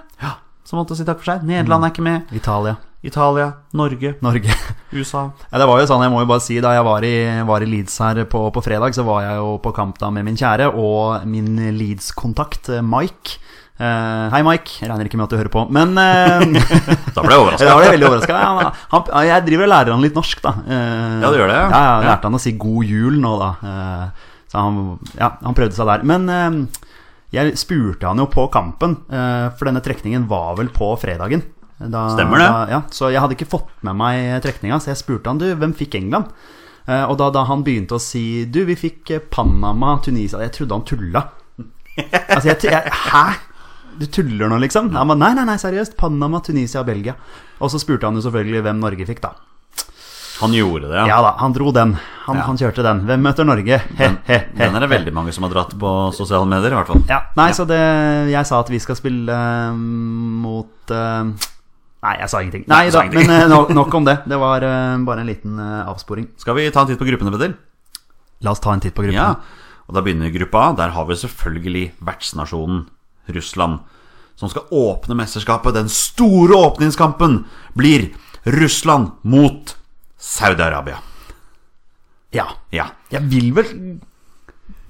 Som måtte si takk for seg. Nederland er ikke med.
Italia,
Italia, Norge,
Norge.
USA.
Ja, det var jo sånn, jeg må jo bare si, da jeg var i, var i Leeds her på, på fredag, så var jeg jo på kamp da med min kjære og min Leeds-kontakt, eh, Mike. Eh, hei, Mike. Jeg regner ikke med at du hører på, men eh,
Da ble jeg overraska.
Da ble jeg veldig overraska. Han, han, jeg driver og lærer han litt norsk, da. Eh,
Ja, du gjør det, ja.
Ja, jeg lærte han å si 'god jul' nå, da. Eh, så han, ja, han prøvde seg der. Men eh, jeg spurte han jo på kampen, eh, for denne trekningen var vel på fredagen. Da,
Stemmer det.
Da, ja, så jeg hadde ikke fått med meg trekninga, så jeg spurte han du, hvem fikk England? Eh, og da, da han begynte å si du, vi fikk eh, Panama, Tunisia Jeg trodde han tulla. Altså, jeg, jeg, hæ? Du tuller nå, liksom? Han ba, nei, nei, nei, seriøst. Panama, Tunisia, Belgia. Og så spurte han jo selvfølgelig hvem Norge fikk, da.
Han gjorde det,
Ja da, han dro den. Han, han kjørte den. Hvem møter Norge? He, he, he.
Den er det veldig mange som har dratt på sosiale medier, i hvert fall.
Ja, nei, så det Jeg sa at vi skal spille eh, mot eh, Nei, jeg sa ingenting. Nei
du sa
da,
ingenting.
men eh, no- nok om det. Det var eh, bare en liten eh, avsporing.
Skal vi ta en titt på gruppene, Petter?
La oss ta en titt på gruppen.
Ja. Og da begynner gruppa A. Der har vi selvfølgelig vertsnasjonen Russland. Som skal åpne mesterskapet. Den store åpningskampen blir Russland mot Saudi-Arabia.
Ja.
Ja.
Jeg vil vel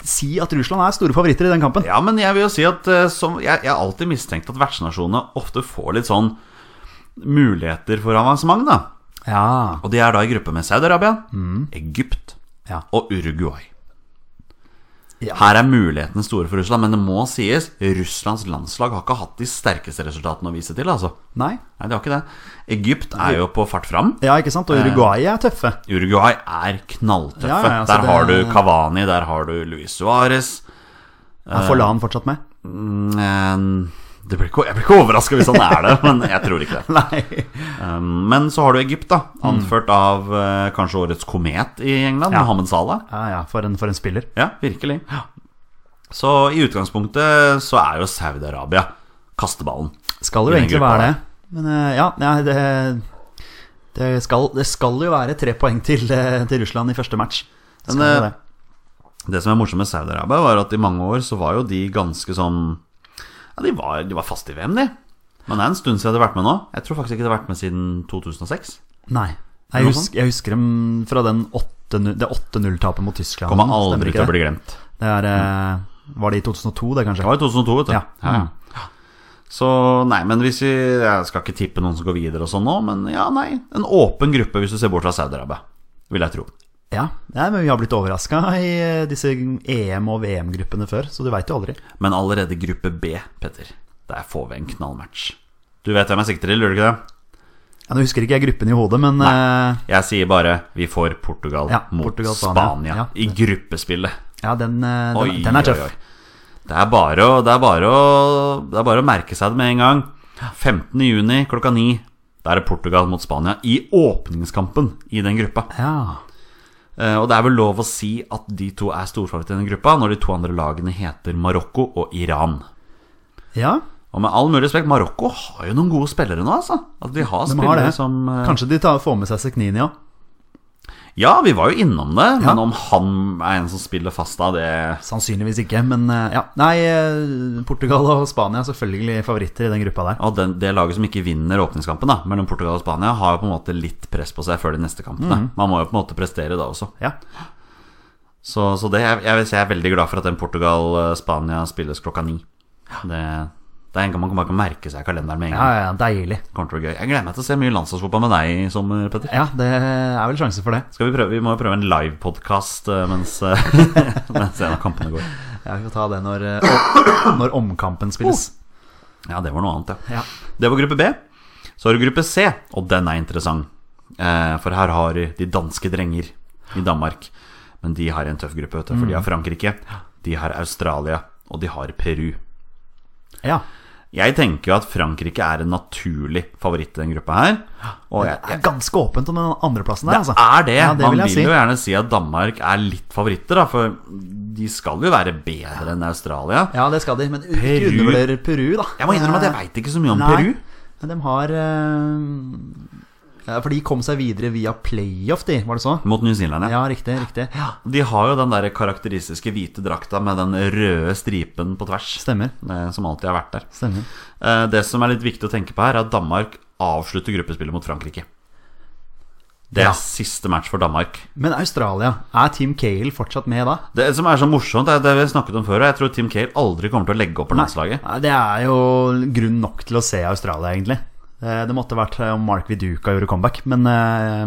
si at Russland er store favoritter i den kampen.
Ja, men jeg vil jo si at eh, som, jeg, jeg har alltid mistenkt at vertsnasjonene ofte får litt sånn muligheter for avansement, da.
Ja.
Og de er da i gruppe med Saudi-Arabia,
Mm.
Egypt
Ja.
og Uruguay.
Ja.
Her er mulighetene store for Russland, men det må sies Russlands landslag har ikke hatt de sterkeste resultatene å vise til. altså
Nei?
Nei, det har ikke det. Egypt er jo på fart fram.
Ja, ikke sant? Og Uruguay er tøffe.
Uruguay er knalltøffe.
Ja, ja, altså
der har
det-
du Kavani, der har du Luis Suárez.
Eh. Jeg får la han fortsatt med.
Mm, eh, Det blir ikke, jeg blir ikke overraska hvis han er det, men jeg tror ikke det.
Nei.
Um, men så har du Egypt, da. Anført av eh, kanskje årets komet i England,
Mm. Ja.
Mohammed Salah.
Ja, ja, for en, for en spiller.
Ja, virkelig. Så i utgangspunktet så er jo Saudi-Arabia kasteballen.
Skal jo
I den
egentlig
gruppa
være det.
der.
Men eh, ja, nei, det, det, skal, det skal jo være tre poeng til, eh, til Russland i første match. Det Skal
Men,
jo
eh,
det.
Det som er morsomt med Saudi-Arabia, var at i mange år så var jo de ganske sånn Ja, de var, de var faste i VM, de. Men det er en stund siden de har vært med nå. Jeg tror faktisk ikke de har vært med siden 2006.
Nei.
er
Jeg
noe
husker, jeg husker dem fra den 8-0 det 8-0-tapet mot Tyskland.
Kommer
Mm, Stemmer
aldri
ikke
til å
det?
bli glemt. Mm.
Det er, eh, Var det i 2002, det,
Det
kanskje?
var i 2002, vet du.
Ja. Mm.
Så nei, men hvis vi Jeg skal ikke tippe noen som går videre og sånn nå, men ja, nei. En åpen gruppe, hvis du ser bort fra Saudi-Arabia, vil jeg tro.
Ja, Nei, men Vi har blitt overraska i eh, disse EM- og VM-gruppene før, så du veit jo aldri.
Men allerede gruppe B, Petter, der får vi en knallmatch. Du vet hvem jeg sikter til, gjør du ikke det?
Ja, Nå husker ikke jeg gruppen i hodet, men eh,
Jeg sier bare vi får Portugal
Ja,
mot
Portugal, Spania.
Spania,
Ja.
i gruppespillet.
ja, den, eh, den,
Oi,
den er
oi, oi.
tøff.
Det er bare å, det er bare å, det er bare å merke seg det med en gang. 15. juni klokka 9. Da er det Portugal mot Spania i åpningskampen i den gruppa.
Ja,
Eh, Og det er vel lov å si at de to er storfavoritter i den gruppa, når de to andre lagene heter Marokko og Iran.
ja
Og med all mulig respekt, Marokko har jo noen gode spillere nå, altså. At de har
de har
spillere
det.
som eh,
Kanskje de tar, får med seg Sekhnini òg.
Ja, vi var jo innom det,
Ja.
men om han er en som spiller fast da, det
Sannsynligvis ikke, men eh, ja. Nei, eh, Portugal og Spania er selvfølgelig favoritter i den gruppa der.
Og den, det laget som ikke vinner åpningskampen da, mellom Portugal og Spania, har jo på en måte litt press på seg før de neste kampene. Man må jo på en måte prestere da også.
Ja,
Så, så det, jeg, jeg, vil si jeg er veldig glad for at den Portugal-Spania spilles klokka ni. Det, det er en gang man kan bare merke seg i kalenderen med en
ja,
gang.
ja, ja deilig.
Kommer til å bli gøy. Jeg gleder meg til å se mye landslagsfotball med deg i sommer, Petter.
Ja, det er vel sjanse for det.
Skal vi, prøve, vi må jo prøve en livepodkast eh, mens, eh, mens en av kampene går.
Ja, vi får ta det når, eh, om- når omkampen spilles.
Ja, det var noe annet, ja.
Ja.
Det var gruppe B. Så har du gruppe C, og den er interessant. Eh, for her har de danske drenger i Danmark. Men de har en tøff gruppe, vet du. For de har
Mm.
Frankrike, de har Australia, og de har Peru.
ja.
Jeg tenker jo at Frankrike er en naturlig favoritt i den gruppa her. Og jeg,
Det er ganske åpent om den andreplassen der, altså.
er det.
Ja, det
Man
vil
vil
jeg si.
jo gjerne si at Danmark er litt favoritter, da. For de skal jo være bedre enn Australia.
Ja, det skal de, men
Peru.
ikke undervurder Peru, da.
Jeg må innrømme at jeg veit ikke så mye om
Nei,
Peru.
Men de har eh, ja, For de kom seg videre via playoff, de, var det så?
Mot New Zealand,
Ja,
ja.
riktig, riktig.
De har jo den der karakteristiske hvite drakta med den røde stripen på tvers.
Stemmer.
eh, Som alltid har vært der.
Stemmer.
Eh, Det som er litt viktig å tenke på her, er at Danmark avslutter gruppespillet mot Frankrike. Det er
Ja.
siste match for Danmark.
Men Australia, er Team Cale fortsatt med da?
Det som er så morsomt, er det vi snakket om før, og jeg tror Tim Cale aldri kommer til å legge opp på landslaget.
Nei, det er jo grunn nok til å se Australia, egentlig. Eh, Det måtte vært om Mark Viduka gjorde comeback, men, eh,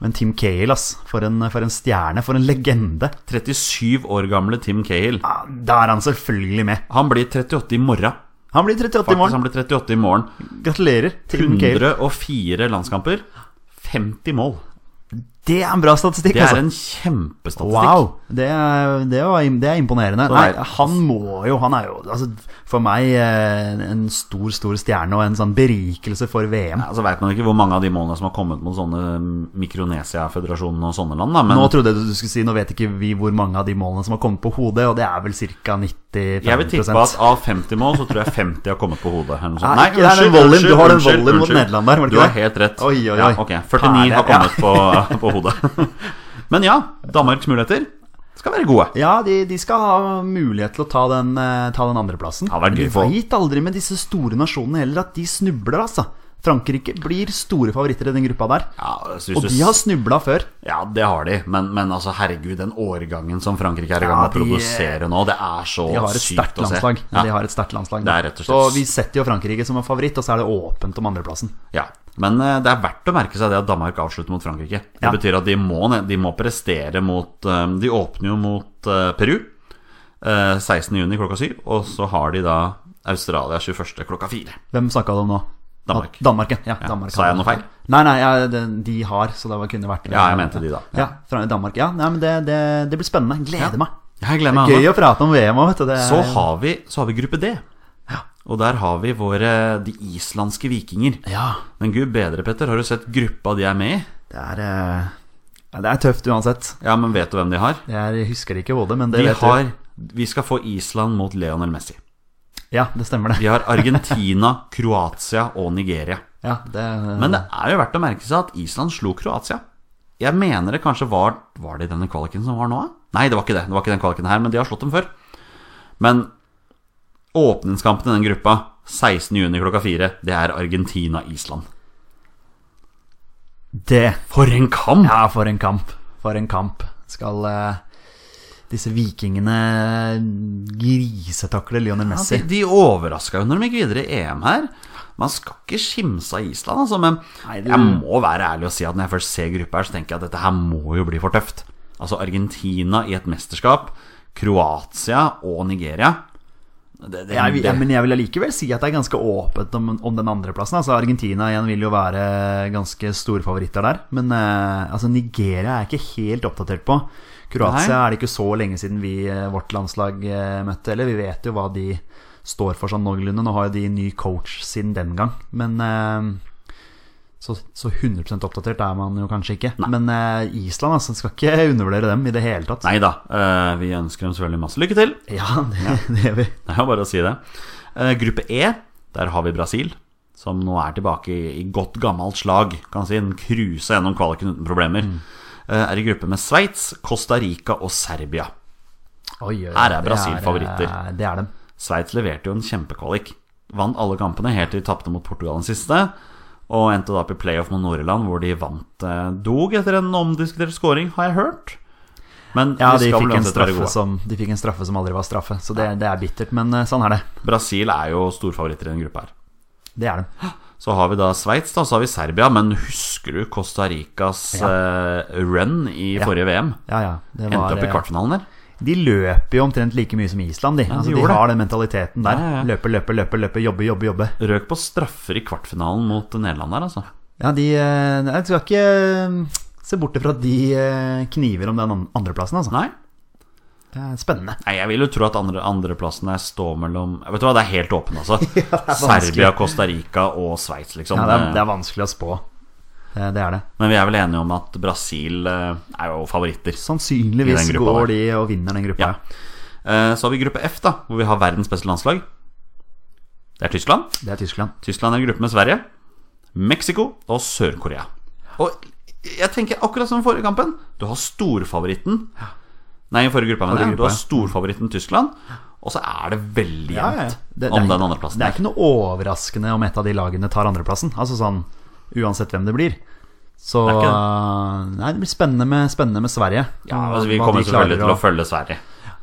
men Team Cale, ass. For en, for en stjerne, for en legende.
37 år gamle Tim Cale.
Ja, Da er han selvfølgelig med.
Han blir 38 i morgen.
Han blir 38 i
Faktisk,
morgen.
han blir 38 i morgen.
Gratulerer, Team Cale.
104 landskamper. 50 mål.
Det er en bra statistikk,
Det er
altså.
en kjempestatistikk.
Wow, det er, det, var, det er imponerende. Nei,
Nei.
han må jo Han er jo altså, for meg eh, en stor, stor stjerne og en sånn berikelse for VM.
Ja, så altså, vet man ikke hvor mange av de målene som har kommet mot sånne Mikronesia-føderasjonen og sånne land, da, men
Nå trodde jeg du skulle si Nå vet ikke vi hvor mange av de målene som har kommet på hodet, og det er vel ca. 95
jeg vil tippe at av 50 mål, så tror jeg 50 har kommet på hodet. Eller noe sånt.
Nei, ikke det er den volleyen. Du har den volleyen mot Nederland der, var det
Du
ikke
har
det?
helt rett.
Oi, oi, oi.
Ja, ok, 49
Herlig,
har kommet på, på hodet. Men ja, Danmarks muligheter skal være gode.
Ja, de, de skal ha mulighet til å ta den, eh, ta den andreplassen.
Ja, det er
Men
gøy for-
Du veit aldri med disse store nasjonene heller at de snubler, altså. Frankrike blir store favoritter i den gruppa der.
Ja, så hvis
Og
du-
de har snubla før.
ja, det har de, men, men altså, herregud, den årgangen som Frankrike er
Ja,
i gang med å
de-
produsere nå, det er så
De har et
sykt
sterkt
å se.
landslag.
Ja.
De har et sterkt landslag
Det er rett og slett-
Så vi setter jo Frankrike som en favoritt, og så er det åpent om andreplassen.
Ja, Men eh, det er verdt å merke seg det at Danmark avslutter mot Frankrike. Det
Ja.
betyr at de må, ned- de må prestere mot eh, De åpner jo mot eh, Peru eh, 16.6 klokka 7. Og så har de da Australia 21. klokka 4.
Hvem snakka du om nå?
Danmark.
At- Danmark, ja. ja, Danmark
sa jeg noe feil?
Nei, nei, ja, det- de har, så det var- kunne vært
Ja, jeg mente de da.
Ja, fra Danmark. Ja, nei, men det, det, det blir spennende. Gleder meg.
Jeg gleder Eh,
Gøy å prate om VM òg, vet du. Det er-
Så har vi, så har vi gruppe D. Og der har vi våre, de islandske vikinger.
Ja,
Men gud bedre, Petter, har du sett gruppa de er med i?
det er, eh, ja, det er tøft uansett.
Ja, men vet du hvem de har?
Jeg husker ikke hodet, men det
De
vet du.
har Vi skal få Island mot Leonel Messi.
Ja, det stemmer
De
det.
har Argentina, Kroatia og Nigeria.
Ja, det
Men det er jo verdt å merke seg at Island slo Kroatia. Jeg mener det kanskje var Var det i denne kvaliken som var nå? da? Nei, det var ikke det. Det var ikke den kvaliken her, men de har slått dem før. Men åpningskampen i den gruppa, 16.6 klokka fire, det er Argentina-Island.
det
For en kamp!
Ja, for en kamp. For en kamp. Skal eh, disse vikingene grisetakle Lionel Messi?
de, de overraska jo når de gikk videre i EM her. Man skal ikke skimse av Island, altså, men
Nei, det-
jeg må være ærlig og si at når jeg først ser gruppa her, så tenker jeg at dette her må jo bli for tøft. Altså Argentina i et mesterskap, Kroatia og Nigeria. Det, det,
Jeg, vil-
det,
jeg, men jeg vil allikevel si at det er ganske åpent om, om den andreplassen. Altså, Argentina igjen vil jo være ganske store favoritter der. Men eh, altså, Nigeria er jeg ikke helt oppdatert på. Kroatia
Nei.
er det ikke så lenge siden vi, eh, vårt landslag eh, møtte heller. Vi vet jo hva de står for sånn noenlunde. Nå har jo de ny coach siden den gang. Men eh, så, så 100 oppdatert er man jo kanskje ikke. Men eh, Island altså, skal ikke undervurdere dem i det hele tatt.
Nei da, eh, vi ønsker dem selvfølgelig masse lykke til.
Ja, det, det gjør vi.
Det er jo bare å si det. Eh, Gruppe E, der har vi Brasil, som nå er tilbake i, i godt gammelt slag. Kan si den cruisa gjennom kvaliken uten problemer.
Mm.
Eh, Er i gruppe med Sveits, Costa Rica og Serbia.
Oi, oi, oi,
Her er
det
Brasil
eh,
favoritter.
Det er dem.
Sveits leverte jo en kjempekvalik. Vant alle kampene helt til de tapte mot Portugal den siste. Og endte da opp i playoff mot Nord-Irland, hvor de vant eh, dog etter en omdiskutert scoring, har jeg hørt. Men
Ja, de
skal
fikk,
vel
en
uansett være
straffe
gode.
som, de fikk en straffe som aldri var straffe, så det, det er bittert. Men eh, sånn er det.
Brasil er jo storfavoritter i den gruppa her.
Det er det.
Så har vi da Sveits, da, så har vi Serbia. Men husker du Costa Ricas eh, run i forrige VM?
Ja, ja, det
Endte
var,
opp i
eh,
kvartfinalen der.
De løper jo omtrent like mye som Island, de. altså, de
gjorde det.
har den mentaliteten der.
Ja, ja, ja.
Løpe, løpe, løpe, løpe, jobbe, jobbe, jobbe.
Røk på straffer i kvartfinalen mot Nederland der, altså.
Ja, de eh, Jeg skal ikke eh, se bort ifra at de eh, kniver om den an- andreplassen, altså.
Nei,
Det er spennende.
Nei, jeg vil jo tro at andre, andreplassen der står mellom Vet du hva, det er helt åpen, altså.
vanskelig.
Serbia, Costa Rica og Sveits, liksom.
Ja, det, er, det er vanskelig å spå. Eh, Det, det er det.
Men vi er vel enige om at Brasil eh, er jo favoritter. I
Sannsynligvis
den gruppa
går
der.
de og vinner den gruppa.
Ja. Eh, Så har vi gruppe F, da, hvor vi har verdens beste landslag. Det er Tyskland.
Det er Tyskland.
Tyskland er i gruppe med Sverige, Mexico og Sør-Korea. Og jeg tenker akkurat som i forrige kampen. Du har storfavoritten Nei, i forrige gruppa, mener
Forrige
jeg. Du har
gruppa,
storfavoritten Tyskland. Og så er det veldig
Ja,
jevnt
ja, ja. Det- det er
om
ikke-
den andreplassen.
Det er ikke noe overraskende om et av de lagene tar andreplassen. Altså sånn uansett hvem det blir. Så
Det er
Nei, det blir spennende med, spennende med Sverige.
Ja,
og
altså, vi
hva
kommer
de klarer
selvfølgelig til å følge Sverige.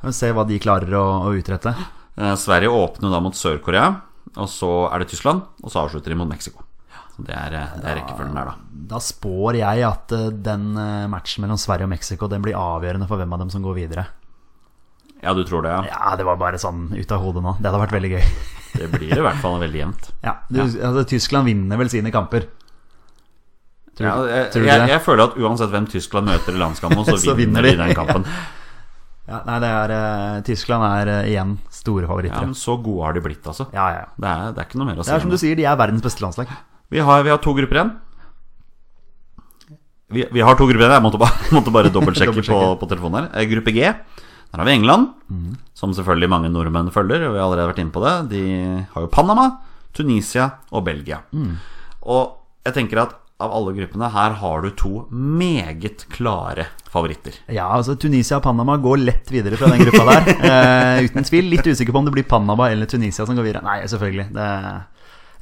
å Se hva de klarer å, å utrette.
Eh, Sverige åpner jo da mot Sør-Korea, og så er det Tyskland, og så avslutter de mot Mexico. Så det er, eh, det er rekkefølgen der, da.
Da spår jeg at eh, den eh, matchen mellom Sverige og Mexico Den blir avgjørende for hvem av dem som går videre.
Ja, du tror det, ja.
Ja, det var bare sånn ut av hodet nå. Det hadde vært veldig gøy.
Det blir i hvert fall veldig jevnt.
Ja, du, Altså, Tyskland vinner vel sine kamper. Tror,
Ja, jeg,
tror du
jeg,
det?
jeg føler at uansett hvem Tyskland møter i landskampen, så,
Så vinner
vinner de
de.
den kampen.
Ja, nei, det er eh, Tyskland er eh, igjen store
Ja,
favoritter.
men Så gode har de blitt, altså.
Ja, ja, ja.
Det, er, det er ikke noe mer å si.
Det er som du
om det.
sier, de er verdens beste landslag.
Vi, har, vi har to grupper igjen. Vi, vi har to grupper igjen. Jeg måtte bare, måtte bare dobbeltsjekke på,
Dobbeltsjekke. Mhm.
på telefonen her. Eh, Gruppe G. Der har vi England, som selvfølgelig mange nordmenn følger. Og vi har allerede vært inne på det. De har jo Panama, Tunisia og Belgia.
Mm.
Og jeg tenker at av alle gruppene her har du to meget klare favoritter.
Ja, altså Tunisia og Panama går lett videre fra den gruppa der. eh, uten tvil. Litt usikker på om det blir Panama eller Tunisia som går videre. Nei, selvfølgelig. Det,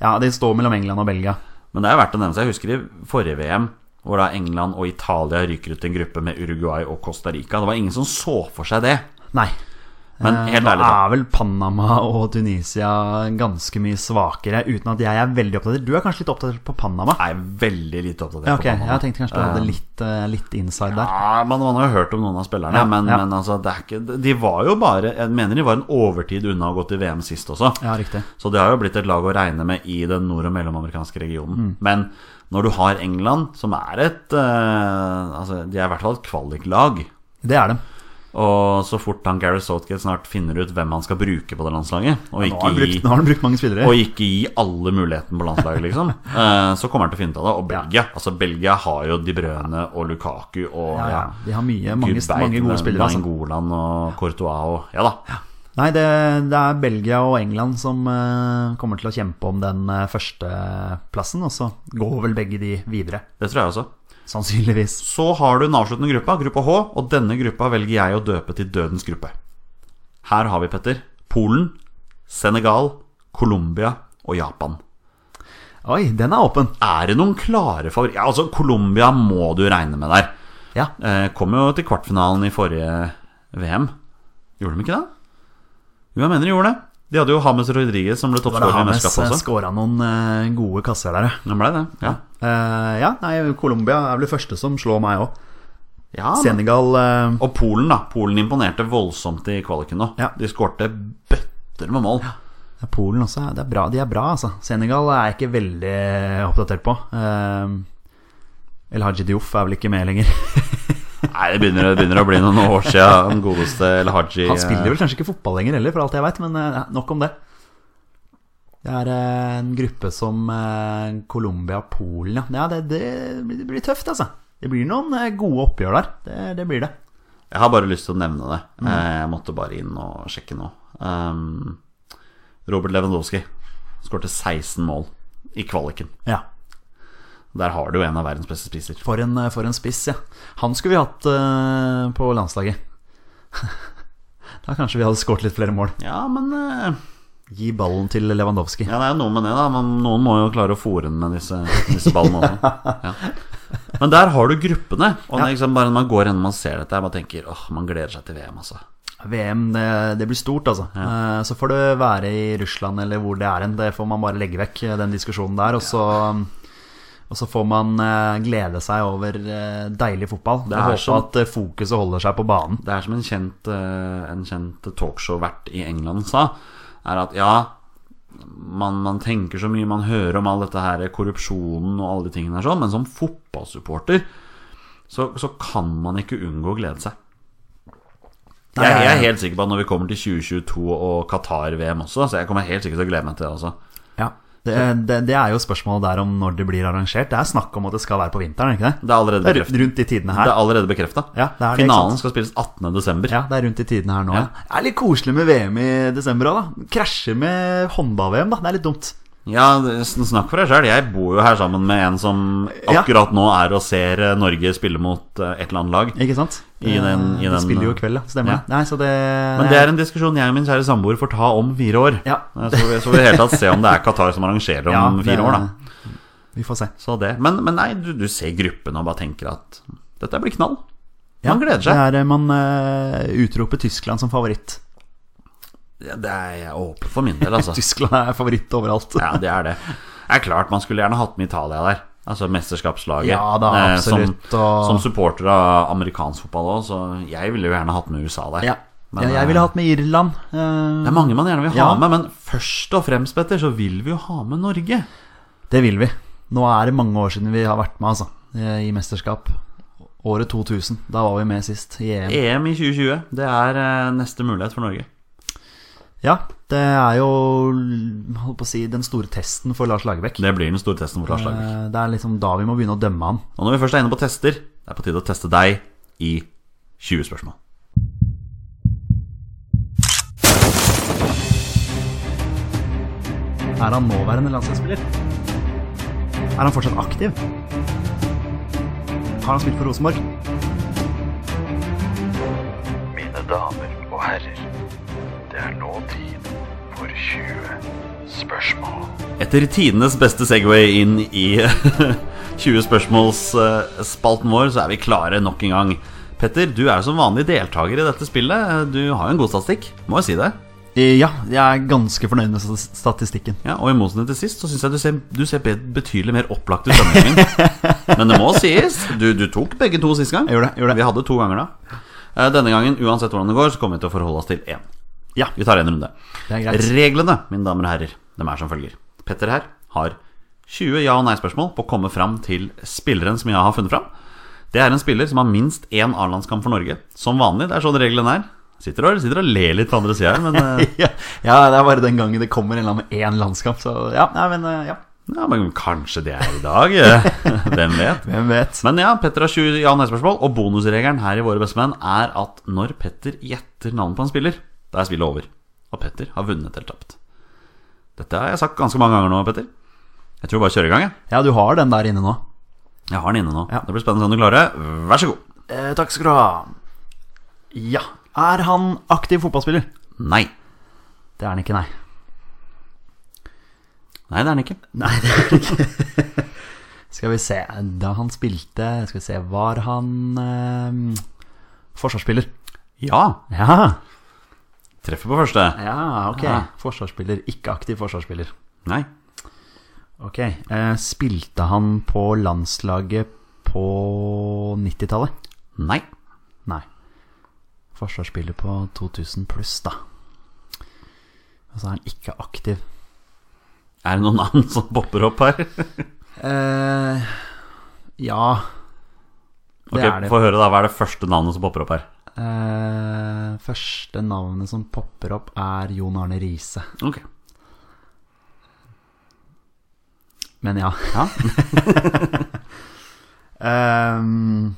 ja, De står mellom England og Belgia.
Men det er verdt å nevne seg. Jeg husker i forrige VM, hvor da England og Italia ryker ut i en gruppe med Uruguay og Costa Rica. Det var ingen som så for seg det.
Nei.
Men
Eh,
helt
nå
ærlig, da.
er vel Panama og Tunisia ganske mye svakere, uten at jeg er veldig oppdatert. Du er kanskje litt oppdatert på Panama?
Jeg er veldig lite
ah.
oppdatert
Ja, ok,
på Panama.
Jeg tenkte kanskje du hadde litt, eh, litt inside der.
Ja, man, man har jo hørt om noen av spillerne,
Ja,
men,
ja.
men altså, det er ikke De var jo bare Jeg mener de var en overtid unna å gå til VM sist også.
Ja, riktig.
Så det har jo blitt et lag å regne med i den nord- og mellomamerikanske
Mm.
regionen. Men når du har England, som er et eh, Altså, de er i hvert fall et kvaliklag.
Det er dem.
Og så fort han Gary Southgate snart finner ut hvem han skal bruke på det landslaget, og
Nå har
ikke
han brukt,
gi
nå har han brukt mange spillere.
og ikke gi alle muligheten på landslaget, liksom. Eh, Så kommer han til å finne ut av det. Og Belgia altså Belgia har jo De Brøne og Lukaku og
Ja, ja. De har mye,
Gud
mange,
vet,
mange
men
gode spillere. Altså.
Nangolan og Courtois og Ja da.
Nei, det, det er Belgia og England som eh, kommer til å kjempe om den eh, førsteplassen. Og så går vel begge de videre,
Det tror jeg også.
sannsynligvis.
Så har du den avsluttende gruppa, gruppa H, og denne gruppa velger jeg å døpe til dødens gruppe. Her har vi, Petter, Polen, Senegal, Colombia og Japan.
Oi, den er åpen!
Er det noen klare favoritter? Ja, altså, Colombia må du regne med der.
Ja,
Eh, kom jo til kvartfinalen i forrige VM. Gjorde de ikke det? Jo, jeg mener de gjorde det. De hadde jo Hames Rodriguez som ble
det var det
toppskårer i
Hames
mesterskapet også.
skåra noen eh, gode kasser der, ja.
Han ble det, ja.
Eh, ja, nei, Colombia er vel det første som slår meg òg.
ja men-
Senegal eh,
Og Polen, da. Polen imponerte voldsomt i kvaliken nå.
Ja.
De skårte bøtter med mål.
Polen også, det er bra, de er bra, altså. Senegal er jeg ikke veldig oppdatert på. Eh, El Haji Diouf er vel ikke med lenger.
Nei, det begynner, det begynner å bli noen år siden den godeste El Haji
Han spiller vel kanskje ikke fotball lenger heller, for alt jeg veit, men eh, nok om det. Det er eh, en gruppe som eh, Colombia og Polen, ja. ja det, det, blir- det blir tøft, altså. Det blir noen eh, gode oppgjør der. Det, det blir det.
Jeg har bare lyst til å nevne det. Eh, Jeg måtte bare inn og sjekke nå. Um, Robert Lewandowski skårte 16 mål i kvaliken.
Ja.
Der har du jo en av verdens beste spiser.
For en, eh, for en spiss, ja. Han skulle vi hatt eh, på landslaget. da kanskje vi hadde skåret litt flere mål.
Ja, men eh,
Gi ballen til Lewandowski.
Ja, det er jo noe med det, da. Men noen må jo klare å fòre den med disse, disse ballene også. Ja. Men der har du gruppene. Og det er liksom bare når man går gjennom og ser dette, her, man tenker åh, man gleder seg til VM, altså.
VM, det, det blir stort, altså. Eh, Så får det være i Russland eller hvor det er hen. Det får man bare legge vekk, eh, den diskusjonen der. Og så, og så får man eh, glede seg over eh, deilig fotball.
Det
Og
er sånn-
håpe
som-
at eh, fokuset holder seg på banen.
Det er som en kjent, eh, en kjent talkshow-vert i England sa, er at ja, man, man tenker så mye, man hører om all dette her, korrupsjonen og alle de tingene her sånn, men som fotballsupporter så, så kan man ikke unngå å glede seg. Jeg, jeg er helt sikker på at når vi kommer til 2022 og Qatar-VM også, så jeg kommer helt sikkert til å glede meg til det altså. også.
Ja. Det, det, det er jo spørsmålet der om når det blir arrangert. Det er snakk om at det skal være på vinteren, er det ikke det?
Det er allerede
Det er
bekreftet.
ru- rundt de tidene
Det
her.
er allerede
Ja,
bekreftet.
det er det, ikke
Finalen
sant?
skal spilles 18. desember.
Ja, det er rundt de tidene her nå.
Ja.
Ja. Det er litt koselig med VM i desember òg, da. Krasjer med håndball-VM, da. Det er litt dumt.
Ja, det- sn- snakk for deg sjøl. Jeg bor jo her sammen med en som
Ja.
akkurat nå er og ser eh, Norge spille mot eh, et eller annet lag.
Ikke sant?
I den- i
Eh,
den-
de spiller jo i kveld, ja. Stemmer
Ja.
det. Nei, så det,
Men det er en diskusjon jeg og min kjære samboer får ta om fire år.
Ja.
Eh, Så vi så vi i det hele tatt se om det er Qatar som arrangerer om
Ja, det-
fire år, da.
Vi får se.
Så det. Men, men nei, du, du ser gruppen og bare tenker at dette blir knall.
Ja,
Man gleder seg.
Det er, eh, man eh, utroper Tyskland som favoritt.
Ja, Det er jeg åpen for min del, altså.
Tyskland er favoritt overalt.
Ja, det er det. Det er klart man skulle gjerne hatt med Italia der. Altså mesterskapslaget.
Ja da,
Eh,
absolutt,
Som,
og-
som supporter av amerikansk fotball òg, så jeg ville jo gjerne hatt med USA der.
Ja.
Men,
ja, jeg ville hatt med Irland. eh,
Det er mange man gjerne vil ha
Ja.
med, men først og fremst, Petter, så vil vi jo ha med Norge.
Det vil vi. Nå er det mange år siden vi har vært med, altså. eh, I mesterskap. Året 2000. Da var vi med sist, i E EM.
EM i 2020, det er eh, neste mulighet for Norge.
Ja, det er jo holdt på å si, den store testen for Lars Lagerbäck.
Det blir den store testen for Lars Lagerbäck.
Eh, Det er liksom da vi må begynne å dømme han.
Og når vi først er inne på tester, det er på tide å teste deg i 20 spørsmål.
Er han nåværende landslagsspiller? Er han fortsatt aktiv? Har han spilt for Rosenborg?
Mine damer og herrer, det er nå tid for 20 spørsmål.
Etter tidenes beste Segway inn i 20 spørsmålsspalten vår, så er vi klare nok en gang. Petter, du er jo som vanlig deltaker i dette spillet. Du har jo en god statistikk, må jeg si det.
Eh, Ja, jeg er ganske fornøyd med stas- statistikken.
Ja, og i motsetning til sist, så syns jeg du ser, du ser be- betydelig mer opplagt ut denne gangen. Men det må sies, du, du tok begge to sist gang.
Jeg gjorde det, jeg gjorde det.
Vi hadde to ganger da. Eh, Denne gangen, uansett hvordan det går, så kommer vi til å forholde oss til én.
Ja,
Vi tar en runde.
det er greit.
Reglene, mine damer og herrer, de er som følger. Petter her har 20 ja- og nei-spørsmål på å komme fram til spilleren som jeg har funnet fram. Det er en spiller som har minst én A-landskamp for Norge. Som vanlig. Det er sånn reglene er. Sitter og, sitter og ler litt på andre sida her, men eh,
ja, ja, det er bare den gangen det kommer en eller annen med én landskamp, så ja. Nei, men eh, ja.
ja, men kanskje det er i dag. eh. Hvem vet?
Hvem vet.
Men ja, Petter har 20 ja- og nei-spørsmål, og bonusregelen her i Våre bestemenn er at når Petter gjetter navnet på en spiller, da er spillet over. Og Petter har vunnet eller tapt. Dette har jeg sagt ganske mange ganger nå, Petter. Jeg tror bare kjører i gang, jeg.
Ja, du har den der inne nå.
Jeg har den inne nå.
Ja.
Det blir spennende om du klarer det. Vær så god.
Eh, takk skal du ha. Ja. Er han aktiv fotballspiller?
Nei.
Det er han ikke, nei.
Nei, det er den ikke.
Nei, det er han ikke. skal vi se. Da han spilte Skal vi se, var han eh, forsvarsspiller?
Ja.
Ja.
Treffer på første.
ja, ok.
Ja.
Forsvarsspiller, ikke aktiv forsvarsspiller.
Nei.
Ok. Eh, spilte han på landslaget på 90-tallet?
Nei.
Nei. Forsvarsspiller på 2000 pluss, da. Og så er han ikke aktiv.
Er det noen navn som popper opp her?
eh ja, det
Ok,
er det.
Få høre, da. Hva er det første navnet som popper opp her?
Eh, første navnet som popper opp, er Jon Arne Riise.
Ok.
Men ja.
Ja.
Ehm,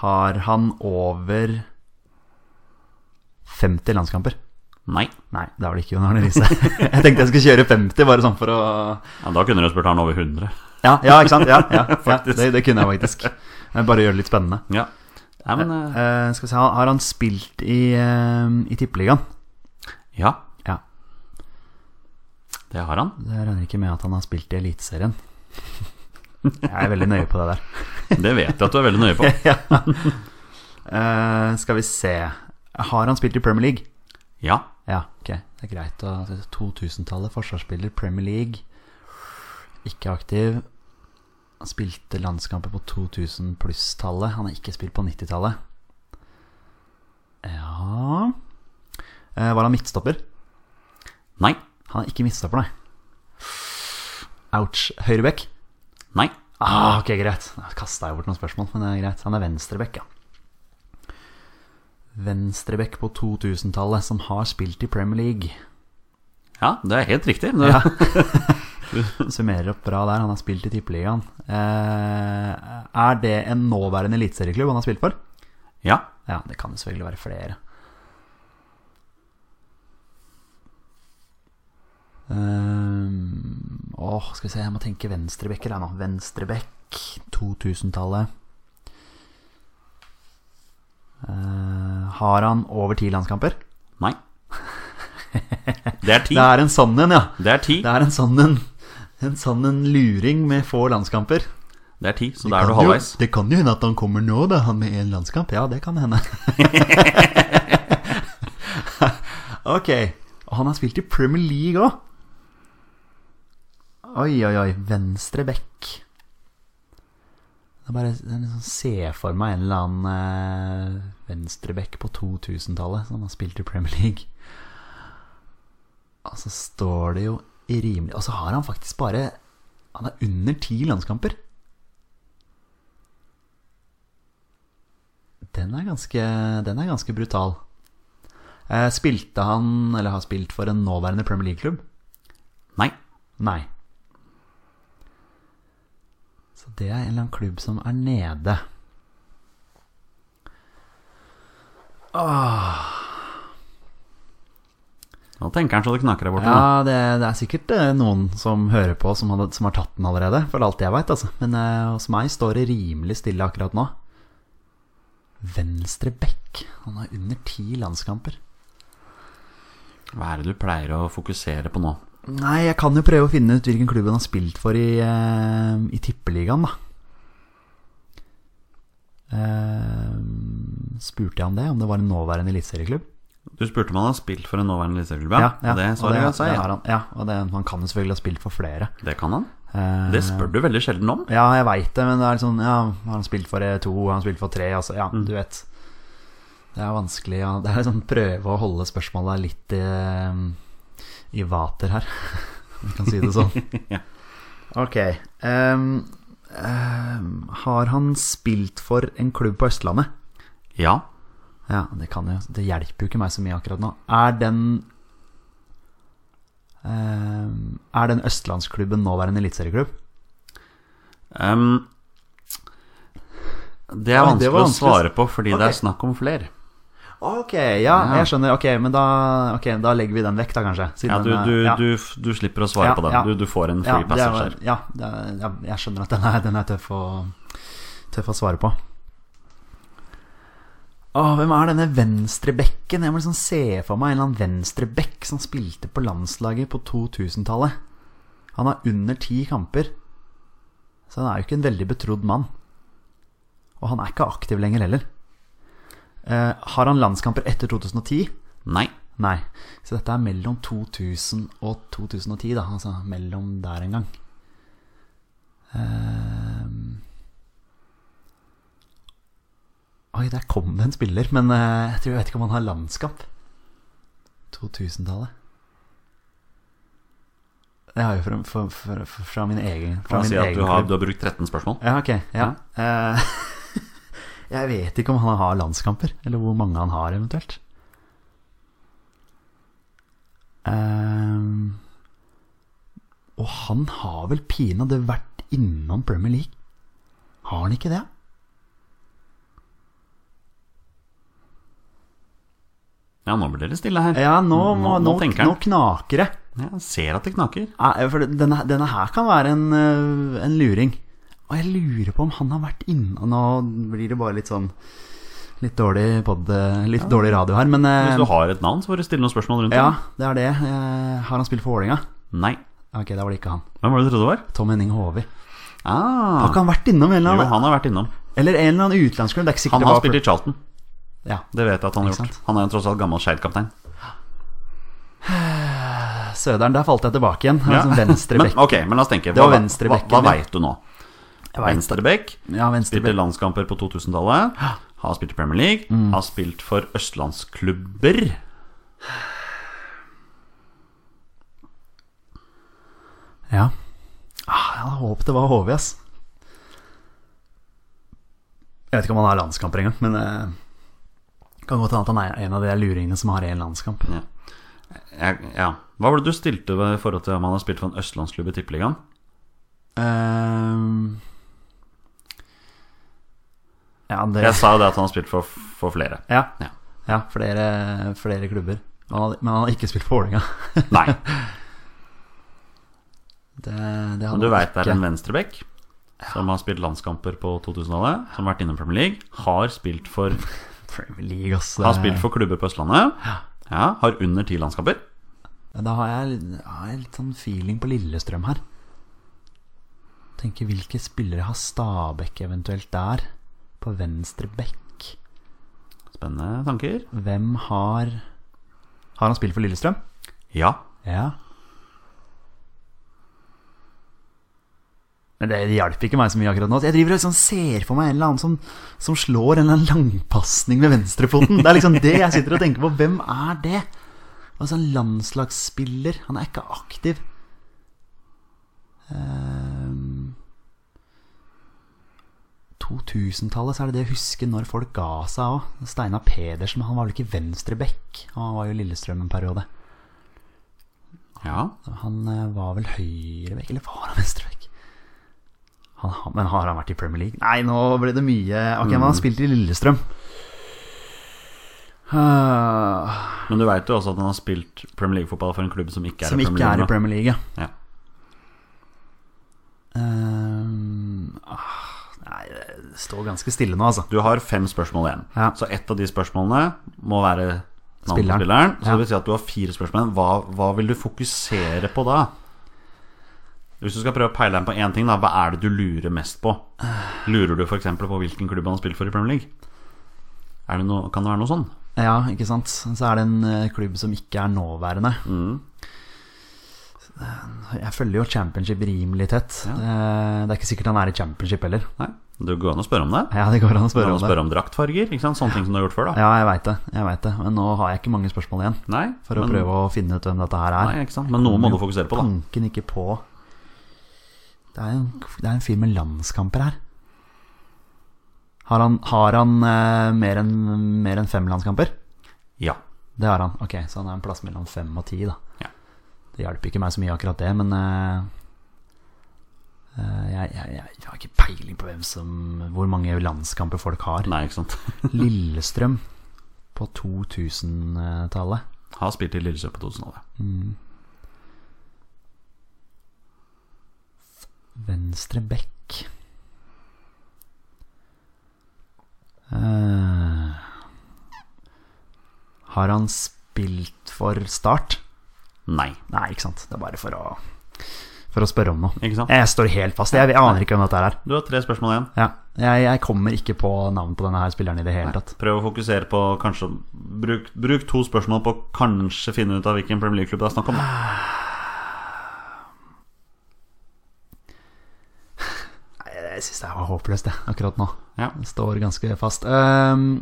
har han over 50 landskamper?
Nei.
Nei, det var det ikke Jon Arne Riise. jeg tenkte jeg skulle kjøre 50, bare sånn for å
Ja, da kunne du spurt han over 100.
Ja, ja ikke sant? Ja, ja, ja
Faktisk.
det, det kunne jeg faktisk. Eh, Bare gjøre det litt spennende.
Ja. Nei, men eh,
Eh, skal vi se, har har han spilt i, eh, i Tippeligaen?
Ja,
Ja.
det har han.
Det regner ikke med at han har spilt i Eliteserien. Jeg er veldig nøye på det der.
Det vet jeg at du er veldig nøye på.
Eh, skal vi se Har han spilt i Premier League?
Ja.
Ja, ok. Det er greit. å- 2000-tallet, forsvarsspiller, Premier League. Ikke aktiv. Han spilte landskamper på 2000 pluss-tallet. Han har ikke spilt på 90-tallet. Ja Eh, Var han midtstopper?
Nei.
Han er ikke midtstopper, nei. Ouch. Høyrebekk?
Nei.
Ah, ok, greit. Kasta jeg bort noen spørsmål, men det er greit. Han er venstrebekk, ja. Venstrebekk på 2000-tallet som har spilt i Premier League.
Ja, det er helt riktig. Det,
Ja. Summerer opp bra der. Han har spilt i Tippeligaen. Eh, er det en nåværende eliteserieklubb han har spilt for?
ja.
Ja, det kan jo selvfølgelig være flere. Ehm, åh, skal vi se, jeg må tenke venstrebekker her nå. Venstrebekk, 2000-tallet. Eh, har han over ti landskamper?
Nei. Det er ti.
Det er en sånn en, ja.
Det er ti,
Det er en sånn en. En sånn en luring med få landskamper.
det er ti så da er
Kan
du
jo-
halvveis.
Det kan jo hende at han kommer nå, da, han med én landskamp. Ja, det kan hende. ok. Og han har spilt i Premier League òg. Oi, oi, oi. Venstre back. Jeg bare jeg liksom ser for meg en eller annen eh, venstreback på 2000-tallet som har spilt i Premier League. Og så står det jo i rimelig Og så har han faktisk bare Han er under ti landskamper. Den er ganske, den er ganske brutal. Eh, spilte han, eller har spilt for en nåværende Premier League-klubb?
Nei.
Nei. Så det er en eller annen klubb som er nede.
Nå tenker han så det knaker der borte. nå.
Ja, det, det er sikkert eh, noen som hører på som, hadde, som har tatt den allerede, for alt jeg veit, altså. Men eh, hos meg står det rimelig stille akkurat nå. Venstre bekk. Han har under ti landskamper.
Hva er det du pleier å fokusere på nå?
Nei, jeg kan jo prøve å finne ut hvilken klubb han har spilt for i, eh, i tippeligaen, da. Eh, spurte jeg om det, om det var en nåværende eliteserieklubb?
Du spurte om han har spilt for en nåværende eliteserieklubb. Ja, og det
og
svarer jeg
det
seg.
har
Ja.
han, ja, og det, han kan jo selvfølgelig ha spilt for flere.
Det kan han.
Eh,
Det spør du veldig sjelden om.
Ja, jeg veit det, men det er sånn Ja, har han spilt for eh, to, har han spilt for tre, altså Ja, du vet. Det er vanskelig ja. Det er sånn prøve å holde spørsmålet litt i, i vater her. Vi kan si det sånn.
Ja.
Ok. ehm, ehm, har han spilt for en klubb på Østlandet?
Ja.
Ja, det kan jo Det hjelper jo ikke meg så mye akkurat nå. Er den eh, Er den østlandsklubben nåværende eliteserieklubb?
Ehm, det er
Oi,
vanskelig,
det var
å svare
vanskelig.
på fordi det
Ok.
er snakk om flere.
Ok, ja, jeg skjønner. Ok, men da, ok, da legger vi den vekk, da, kanskje. siden
Ja, du,
den er-
du,
eh, ja.
du, du slipper å svare
Ja,
på den.
ja.
Du, du får en
Ja,
free
det er-
passage her.
ja, det er, ja, jeg skjønner at den er, den er tøff, å, tøff å svare på. Åh, hvem er denne venstrebekken? Jeg må liksom se for meg en eller annen venstrebekk som spilte på landslaget på 2000-tallet. Han har under ti kamper, så han er jo ikke en veldig betrodd mann. Og han er ikke aktiv lenger heller. Eh, har han landskamper etter 2010?
Nei.
Nei. Så dette er mellom 2000 og 2010, da. Altså mellom der en gang. Ehm. Oi, der kom det en spiller, men eh, jeg tror jeg vet ikke om han har landskamp. 2000-tallet. Det har jeg jo fra, fra, fra, fra min egen
Kan
Fra
jeg
min
si at
egen
du har,
klubb.
du har brukt 13 spørsmål?
Ja, ok. Ja. Eh, jeg vet ikke om han har landskamper, eller hvor mange han har eventuelt. Ehm, og han har vel pinadø vært innom Premier League? Har han ikke det?
Ja, nå blir dere stille her.
Ja, nå, nå, nå,
tenker han.
knaker det.
Jeg ser at det knaker.
Eh, For denne, denne her kan være en, eh, en luring. Og jeg lurer på om han har vært inne Nå blir det bare litt sånn Litt dårlig podd, litt dårlig radio her, men eh,
Hvis du har et navn, så får du stille noen spørsmål rundt
Ja, det er det. Eh, har han spilt for Vålerenga?
det. Nei.
Ok, da var det ikke han.
Hvem var det du trodde det var?
Tom Henning Håvi. Har
Ah,
ikke han vært innom en
jo,
eller annen,
han har vært innom.
eller en eller annen utenlandsklubb? Det er ikke sikkert
Han
det
har
var
spilt i Charlton.
Ja,
Det vet jeg at han har
Ikke
gjort. Han er jo tross alt gammel Skeid-kaptein.
Søderen, der falt jeg tilbake igjen.
Ja.
Altså, venstre
men,
bekk.
ok, men la oss tenke.
Det var
Hva-
venstrebekken
Hva, hva
min.
veit du nå?
vet.
Venstrebekk.
Ja, venstre
Spilte
bekk.
landskamper på 2000-tallet. Har spilt i Premier League.
Mm.
Har spilt for østlandsklubber.
Ja. Ah, jeg hadde håpet det var Håvi, ass. Jeg vet ikke om han har landskamper engang, men eh, kan godt hende at han er en av de der luringene som har én landskamp.
Ja. Jeg, ja. Hva var det du stilte ved i forhold til om han har spilt for en østlandsklubb i Tippeligaen?
Eh, Ehm. ja, det
Jeg sa jo det at han har spilt for, for flere.
Ja,
Ja.
ja flere, flere klubber. Men han, men han har ikke spilt for Vålerenga.
Nei,
Det, det hadde
men du
han
veit det er
ikke.
en venstrebekk som har spilt landskamper på 2000-tallet. Som har vært innom Premier League. Har spilt for,
Premier League, ass.
har spilt for klubber på Østlandet. Ja, har under ti landskamper.
Da har jeg, litt- har jeg litt sånn feeling på Lillestrøm her. Tenker hvilke spillere har Stabæk eventuelt der? På venstre bekk.
Spennende tanker.
Hvem har Har han spilt for Lillestrøm?
Ja.
Ja. Men det hjalp ikke meg så mye akkurat nå. Jeg driver og liksom ser for meg en eller annen som, som slår en eller annen langpasning med venstrefoten. Det er liksom det jeg sitter og tenker på. Hvem er det? Altså En landslagsspiller. Han er ikke aktiv. Ehm, 2000-tallet så er det det jeg husker når folk ga seg òg. Steinar Pedersen, han var vel ikke venstreback? Han var jo i Lillestrøm en periode.
ja.
Han eh, var vel høyrebekk, eller var han venstrebekk? Han, har- men har han vært i Premier League? Nei, nå ble det mye Ok, men han
Mm.
spilte i Lillestrøm. Ah,
Men du veit jo også at han har spilt Premier League-fotball for en klubb som ikke er
som
i
ikke
Premier
er i
League. nå.
Premier League.
Ja.
Ehm, ah, nei, det står ganske stille nå, altså.
Du har fem spørsmål igjen.
Ja.
Så ett av de spørsmålene må være navnet på
Spilleren.
spilleren. Så
Ja.
det vil si at du har fire spørsmål. Hva, hva vil du fokusere på da? Hvis du skal prøve å peile deg på én ting, da, hva er det du lurer mest på? Lurer du f.eks. på hvilken klubb han har spilt for i Premier League? Er det noe, kan det være noe sånn?
Ja, ikke sant. Så er det en eh, klubb som ikke er nåværende.
Mm.
Eh, Jeg følger jo championship rimelig tett. Eh, Det er ikke sikkert han er i championship heller.
Nei? Det går an å spørre om det.
Ja, det går an å
Det
spørre
går
om
an
det.
å spørre om draktfarger. Ikke sant? Sånne ting som du har gjort før. da
Ja, jeg veit det. jeg vet det Men nå har jeg ikke mange spørsmål igjen
Nei,
for å
men,
prøve å finne ut hvem dette her er.
Nei, ikke sant? Men noe må du fokusere på, da.
Tanken ikke på Det er jo en, det er en fyr med landskamper her. Har han, har han eh, mer enn mer enn fem landskamper?
Ja.
Det har han. Ok, Så han er en plass mellom fem og ti, da.
Ja.
Det hjelper ikke meg så mye akkurat det, men eh, eh, jeg, jeg, jeg, jeg har ikke peiling på hvem som, hvor mange landskamper folk har.
Nei, ikke sant.
Lillestrøm på 2000-tallet.
Har spilt i Lillesø på 2000-tallet.
Venstre bekk Eh, Har han spilt for Start?
Nei.
Nei, ikke sant. Det er bare for å, for å spørre om noe.
Ikke sant?
Jeg står helt fast. Jeg, jeg aner ikke hvem dette er.
Du har tre spørsmål igjen.
Ja. Jeg, jeg kommer ikke på navnet på denne her spilleren i det hele tatt.
Prøv å fokusere på kanskje Bruk, bruk to spørsmål på å kanskje finne ut av hvilken Premier League-klubb det er snakk om. da.
Nei, Jeg syns det var håpløst, jeg, akkurat nå.
Ja.
Jeg står ganske fast. Ehm,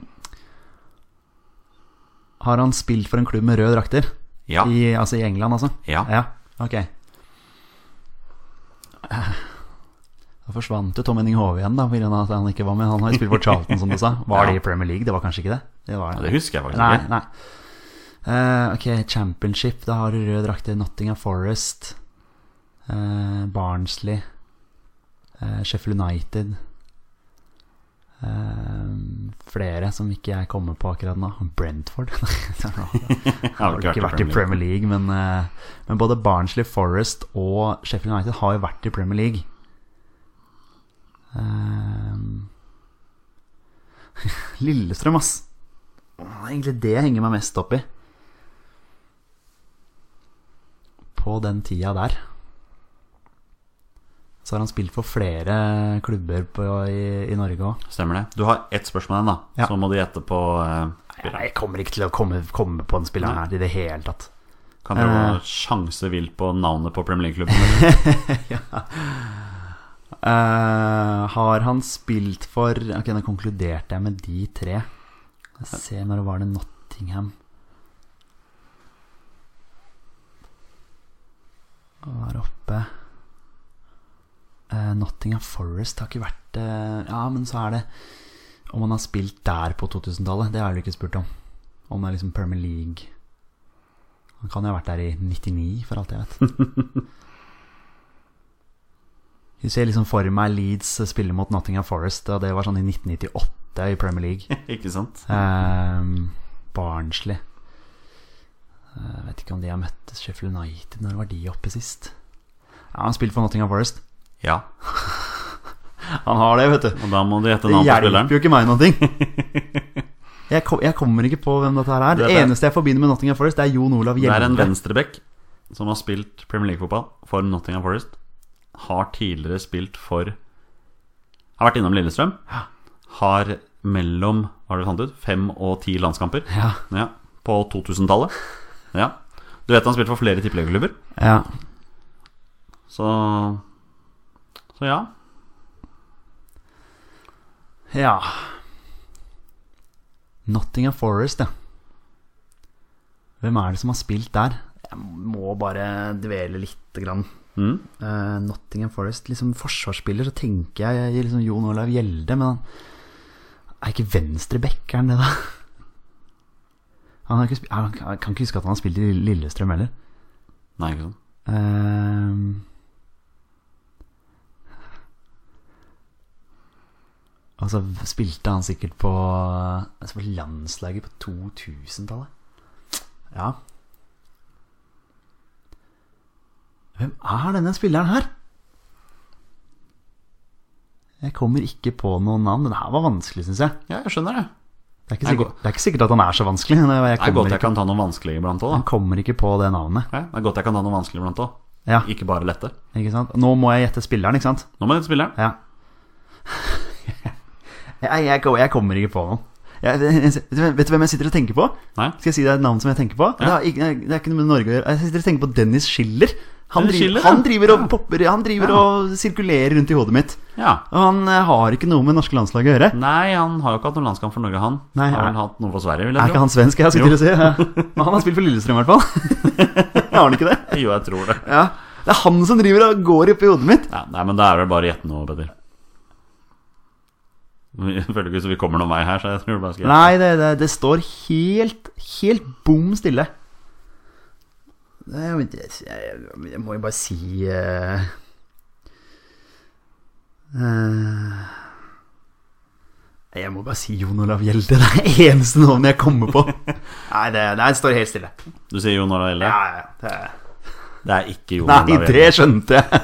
har han spilt for en klubb med røde drakter?
Ja.
I, altså i England, altså?
Ja.
ja. Ok. Eh, Da forsvant jo Tom Henning Hove igjen, da, pga. at han ikke var med. Han har jo spilt for Charlton, som du sa. Var
Ja.
det i Premier League? Det var kanskje ikke det? Det, var,
Ja, det husker jeg faktisk
nei,
ikke.
Nei. Eh, ok, Championship. Da har du rød drakt i Nottingham Forest. eh, Barnsley. eh, Sheffield United. Eh, flere som ikke jeg kommer på akkurat nå. Brentford. Nei, det har
Jeg har
ikke vært i Premier League, men, eh, men både Barnsley, Forest og Sheffield United har jo vært i Premier League. Eh, Lillestrøm, ass. Det er egentlig det jeg henger meg mest opp i. På den tida der så har han spilt for flere klubber på, i, i Norge òg.
Stemmer det. Du har ett spørsmål igjen, da.
Ja.
Så må du gjette på eh,
Nei, jeg kommer ikke til å komme, komme på den spilleren her i det hele tatt.
Kan dere
Eh.
uh, sjanse vilt på navnet på Premier League-klubben?
Eh, har han spilt for Ok, nå konkluderte jeg med de tre. Jeg ser når det var det Nottingham Var oppe Eh, Nottingham Forest har ikke vært eh, Ja, men så er det om han har spilt der på 2000-tallet. Det har du ikke spurt om. Om det er liksom Premier League Han kan jo ha vært der i 99, for alt jeg vet. Du ser liksom for meg Leeds spille mot Nottingham Forest, og det var sånn i 1998 i Premier League.
ikke sant?
Ehm, Barnsley Eh, Vet ikke om de har møtt Sheffield United. Når var de oppe sist? Ja, Han spilte for Nottingham Forest.
Ja.
Han har det, vet du.
Og da må du gjette
Det
navnet på
hjelper
spilleren.
jo ikke meg noen ting. Jeg, kom, jeg kommer ikke på hvem dette her er.
Det
Det
er-
eneste jeg forbinder med Nottingham Forest, det er Jon Olav
Det er en
Hjelmre.
venstreback som har spilt Premier League-fotball for Nottingham Forest. Har tidligere spilt for Har vært innom Lillestrøm. Har mellom hva har du fant ut, fem og ti landskamper
Ja.
Ja, på 2000-tallet. Ja. Du vet han spilte for flere tippeligaklubber,
Ja.
så Så ja.
Ja Nottingham Forest, ja. Hvem er det som har spilt der? Jeg må bare dvele lite grann.
Mm.
Eh, Nottingham Forest, liksom forsvarsspiller, så tenker jeg, jeg liksom Jon Olav Gjelde, men han er ikke venstreback, er han det, da? Han har ikke spi- han kan jeg kan ikke huske at han har spilt i Lillestrøm heller.
Nei, ikke sant.
Ehm. Og så spilte han sikkert på, altså på landslaget på 2000-tallet. Ja. Hvem er denne spilleren her? Jeg kommer ikke på noe navn. Det her var vanskelig, syns jeg.
Ja, jeg skjønner det.
Det er, ikke
Nei,
sikkert, det er ikke sikkert at han er så vanskelig. men Jeg
Det er godt
kommer
jeg
ikke,
kan ta noe vanskelig iblant òg, da.
jeg kommer ikke på det navnet.
Ja, det er godt jeg kan ta noe vanskelig iblant òg.
Ja,
Ikke bare lette.
ikke sant? Nå må jeg gjette spilleren, ikke sant?
Nå må jeg spilleren.
Ja. jeg, jeg, kom- jeg kommer ikke på noen. Jeg, vet, du, hvem- vet du hvem jeg sitter og tenker på?
Nei.
Skal jeg si deg et navn som jeg tenker på? Det,
Ja.
har ikke, det er ikke noe med Norge å gjøre. Jeg sitter og tenker på Dennis Schiller. Han
Dennis
driver,
Schiller, ja.
han driver, og,
Ja.
popper, han driver
Ja.
og sirkulerer rundt i hodet mitt.
Ja.
Og han eh, har ikke noe med norske landslag å gjøre.
Nei, han har jo ikke hatt noen landskamp for Norge, han.
Nei,
har
er-
vel hatt noe for Sverige, vil
Er
jeg
ikke
tro.
han svensk? Jeg sitter og sier Men Han har spilt for Lillestrøm, i hvert fall. Har han ikke det?
Jo, jeg tror det.
Ja. Det er han som driver og går oppi hodet mitt.
Ja, nei, men da er det bare å gjette noe, Peder. Vi føler ikke så vi kommer noen vei her, så jeg tror bare skal
Nei, det, det, det står helt, helt bom stille. Det er jo ikke- Jeg, jeg, jeg må jo bare si eh, eh, Jeg må bare si Jon Olav Gjelde. Det er det eneste navnet jeg kommer på. Nei, det, nei, det står helt stille.
Du sier Jon Olav Gjelde?
Ja, ja, det,
Det er ikke Jon
nei,
Olav
det skjønte jeg.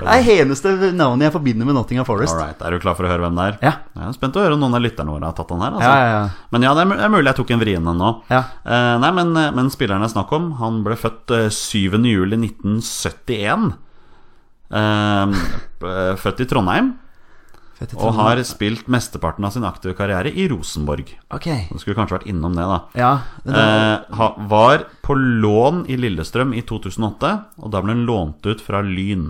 Det er det eneste navnet jeg forbinder med Nottingham Forest.
Alright, Er du klar for å høre hvem det er?
Ja.
Jeg er spent å høre om noen av lytterne våre har tatt den her. Altså.
Ja, ja, ja.
Men ja, det er mul- det er mulig jeg tok en vrien en nå.
Ja.
Eh, nei, men, men spilleren jeg snakker om, han ble født eh, 7. juli 1971. Eh, eh, født i Trondheim,
Fett i
og
tråden.
har spilt mesteparten av sin aktive karriere i Rosenborg.
Ok.
Du skulle kanskje vært innom det, da.
Ja, men da-
Eh, ha, var på lån i Lillestrøm i 2008, og da ble hun lånt ut fra Lyn.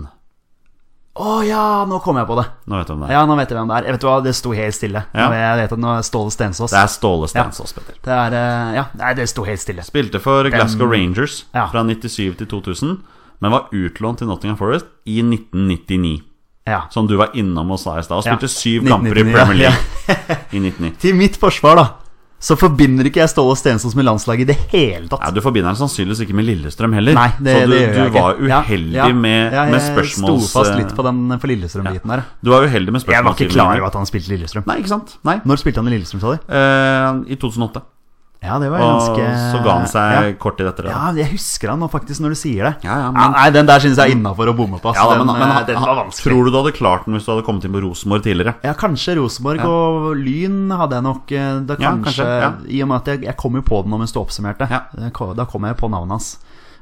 Å ja, nå kom jeg på det.
Nå vet du om det. er.
Ja, nå vet jeg hvem det er. Jeg vet du hva, Det sto helt stille.
Ja.
Nå Jeg vet at nå er Ståle Stensås.
Det er Ståle Stensås, Petter.
Det er, eh, ja, nei, det sto helt stille.
Spilte for Glasgow Rangers
Ja.
fra 97 til 2000, men var utlånt til Nottingham Forest i 1999.
Ja.
Som du var innom og sa i stad. Og
Ja.
spilte syv
1999,
kamper i
ja.
Premier League i 1999.
Til mitt forsvar, da, så forbinder ikke jeg Ståle Stensås med landslaget i det hele
Ja,
tatt.
du forbinder den sannsynligvis ikke med Lillestrøm heller.
Nei, det,
så du,
det gjør jeg
du
ikke.
var uheldig
ja, ja,
med,
ja,
med
Jeg
spørsmåls...
sto fast litt på den for Lillestrøm-biten der.
Du var uheldig med spørsmål.
Jeg var ikke klar over at han spilte Lillestrøm.
Nei, ikke sant? Nei.
Når spilte han i Lillestrøm, sa du?
Eh, I 2008.
Ja, det var
Og
ganske
så ga han seg
ja.
kort tid etter det.
Ja,
da.
jeg husker han nå faktisk når du sier det.
Ja, ja, men-
nei, Den der syns jeg er innafor å bomme på. ass.
Ja, da,
den,
men, men
eh, den var vanskelig.
tror du du hadde klart den hvis du hadde kommet inn på Rosenborg tidligere?
Ja, kanskje Rosenborg og Lyn hadde jeg nok eh, da
Ja,
kanskje,
kanskje, ja.
I og med at jeg, jeg kom jo på det når mens du oppsummerte.
Ja.
Eh, ko- Da kom jeg på navnet hans.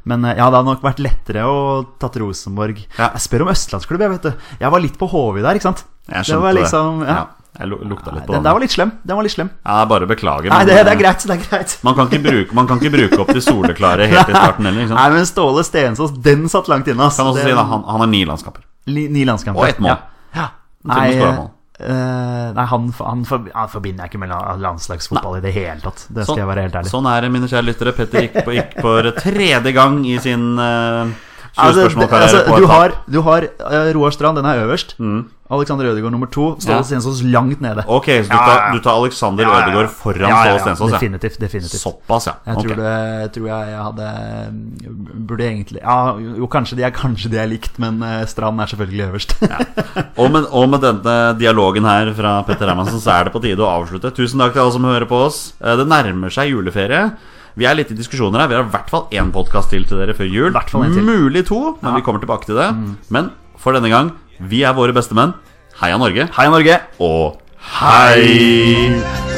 Men eh, ja, det hadde nok vært lettere å tatt Rosenborg.
Ja.
Jeg spør om østlandsklubb, jeg, vet du. Jeg var litt på HV der, ikke sant? det
Jeg skjønte
var liksom, ja.
Jeg lu- lukta litt
Nei,
på
Den
den.
der var litt slem. Den var litt slem.
Ja, jeg bare beklager.
Nei,
men,
det, det
eh,
er greit. det er greit
Man kan ikke bruke, man kan ikke bruke opp de soleklare helt i starten heller. Ikke
Nei,
sant?
men Ståle Stensås, den satt langt inne. ass.
Kan også
Det-
si da, han, han har ni landskamper.
Li- Ni landskamper.
Og ett mål.
Ja. Ja.
og
Nei,
skåret mål.
eh, nei han, han, for, han forbinder jeg ikke med la- landslagsfotball i det hele tatt. Det skal jeg være helt ærlig.
sånn er det, mine kjære lyttere. Petter gikk, på, gikk for tredje gang i sin uh,
Altså, det-
20-spørsmålkarriere
altså,
på
du
et
har,
tap.
du har eh, Roar Strand, den er øverst. Alexander Ødegaard nummer to. Ståle
Mm. Ja.
Stensås langt nede.
Ok, så du
Ja,
tar,
ja.
du tar Alexander
Ja, ja, ja.
Ødegaard foran
Ja, ja, ja.
Ståle Stensås? Ja.
Definitivt. definitivt.
Såpass, ja.
Jeg
Ok.
tror, det, jeg tror jeg jeg hadde mm, Burde egentlig Ja, jo, kanskje de er, kanskje de er likt, men eh, Strand er selvfølgelig øverst.
Og med, og med denne dialogen her fra Petter Hermansen, så er det på tide å avslutte. Tusen takk til alle som hører på oss. Eh, Det nærmer seg juleferie. Vi er litt i diskusjoner her. Vi har i hvert fall én podkast til til dere før jul.
Hvert fall en til. Mm.
Mulig to, men vi kommer tilbake til det. Men for denne gang, vi er våre bestemenn. Heia Norge.
Heia Norge!
Og hei!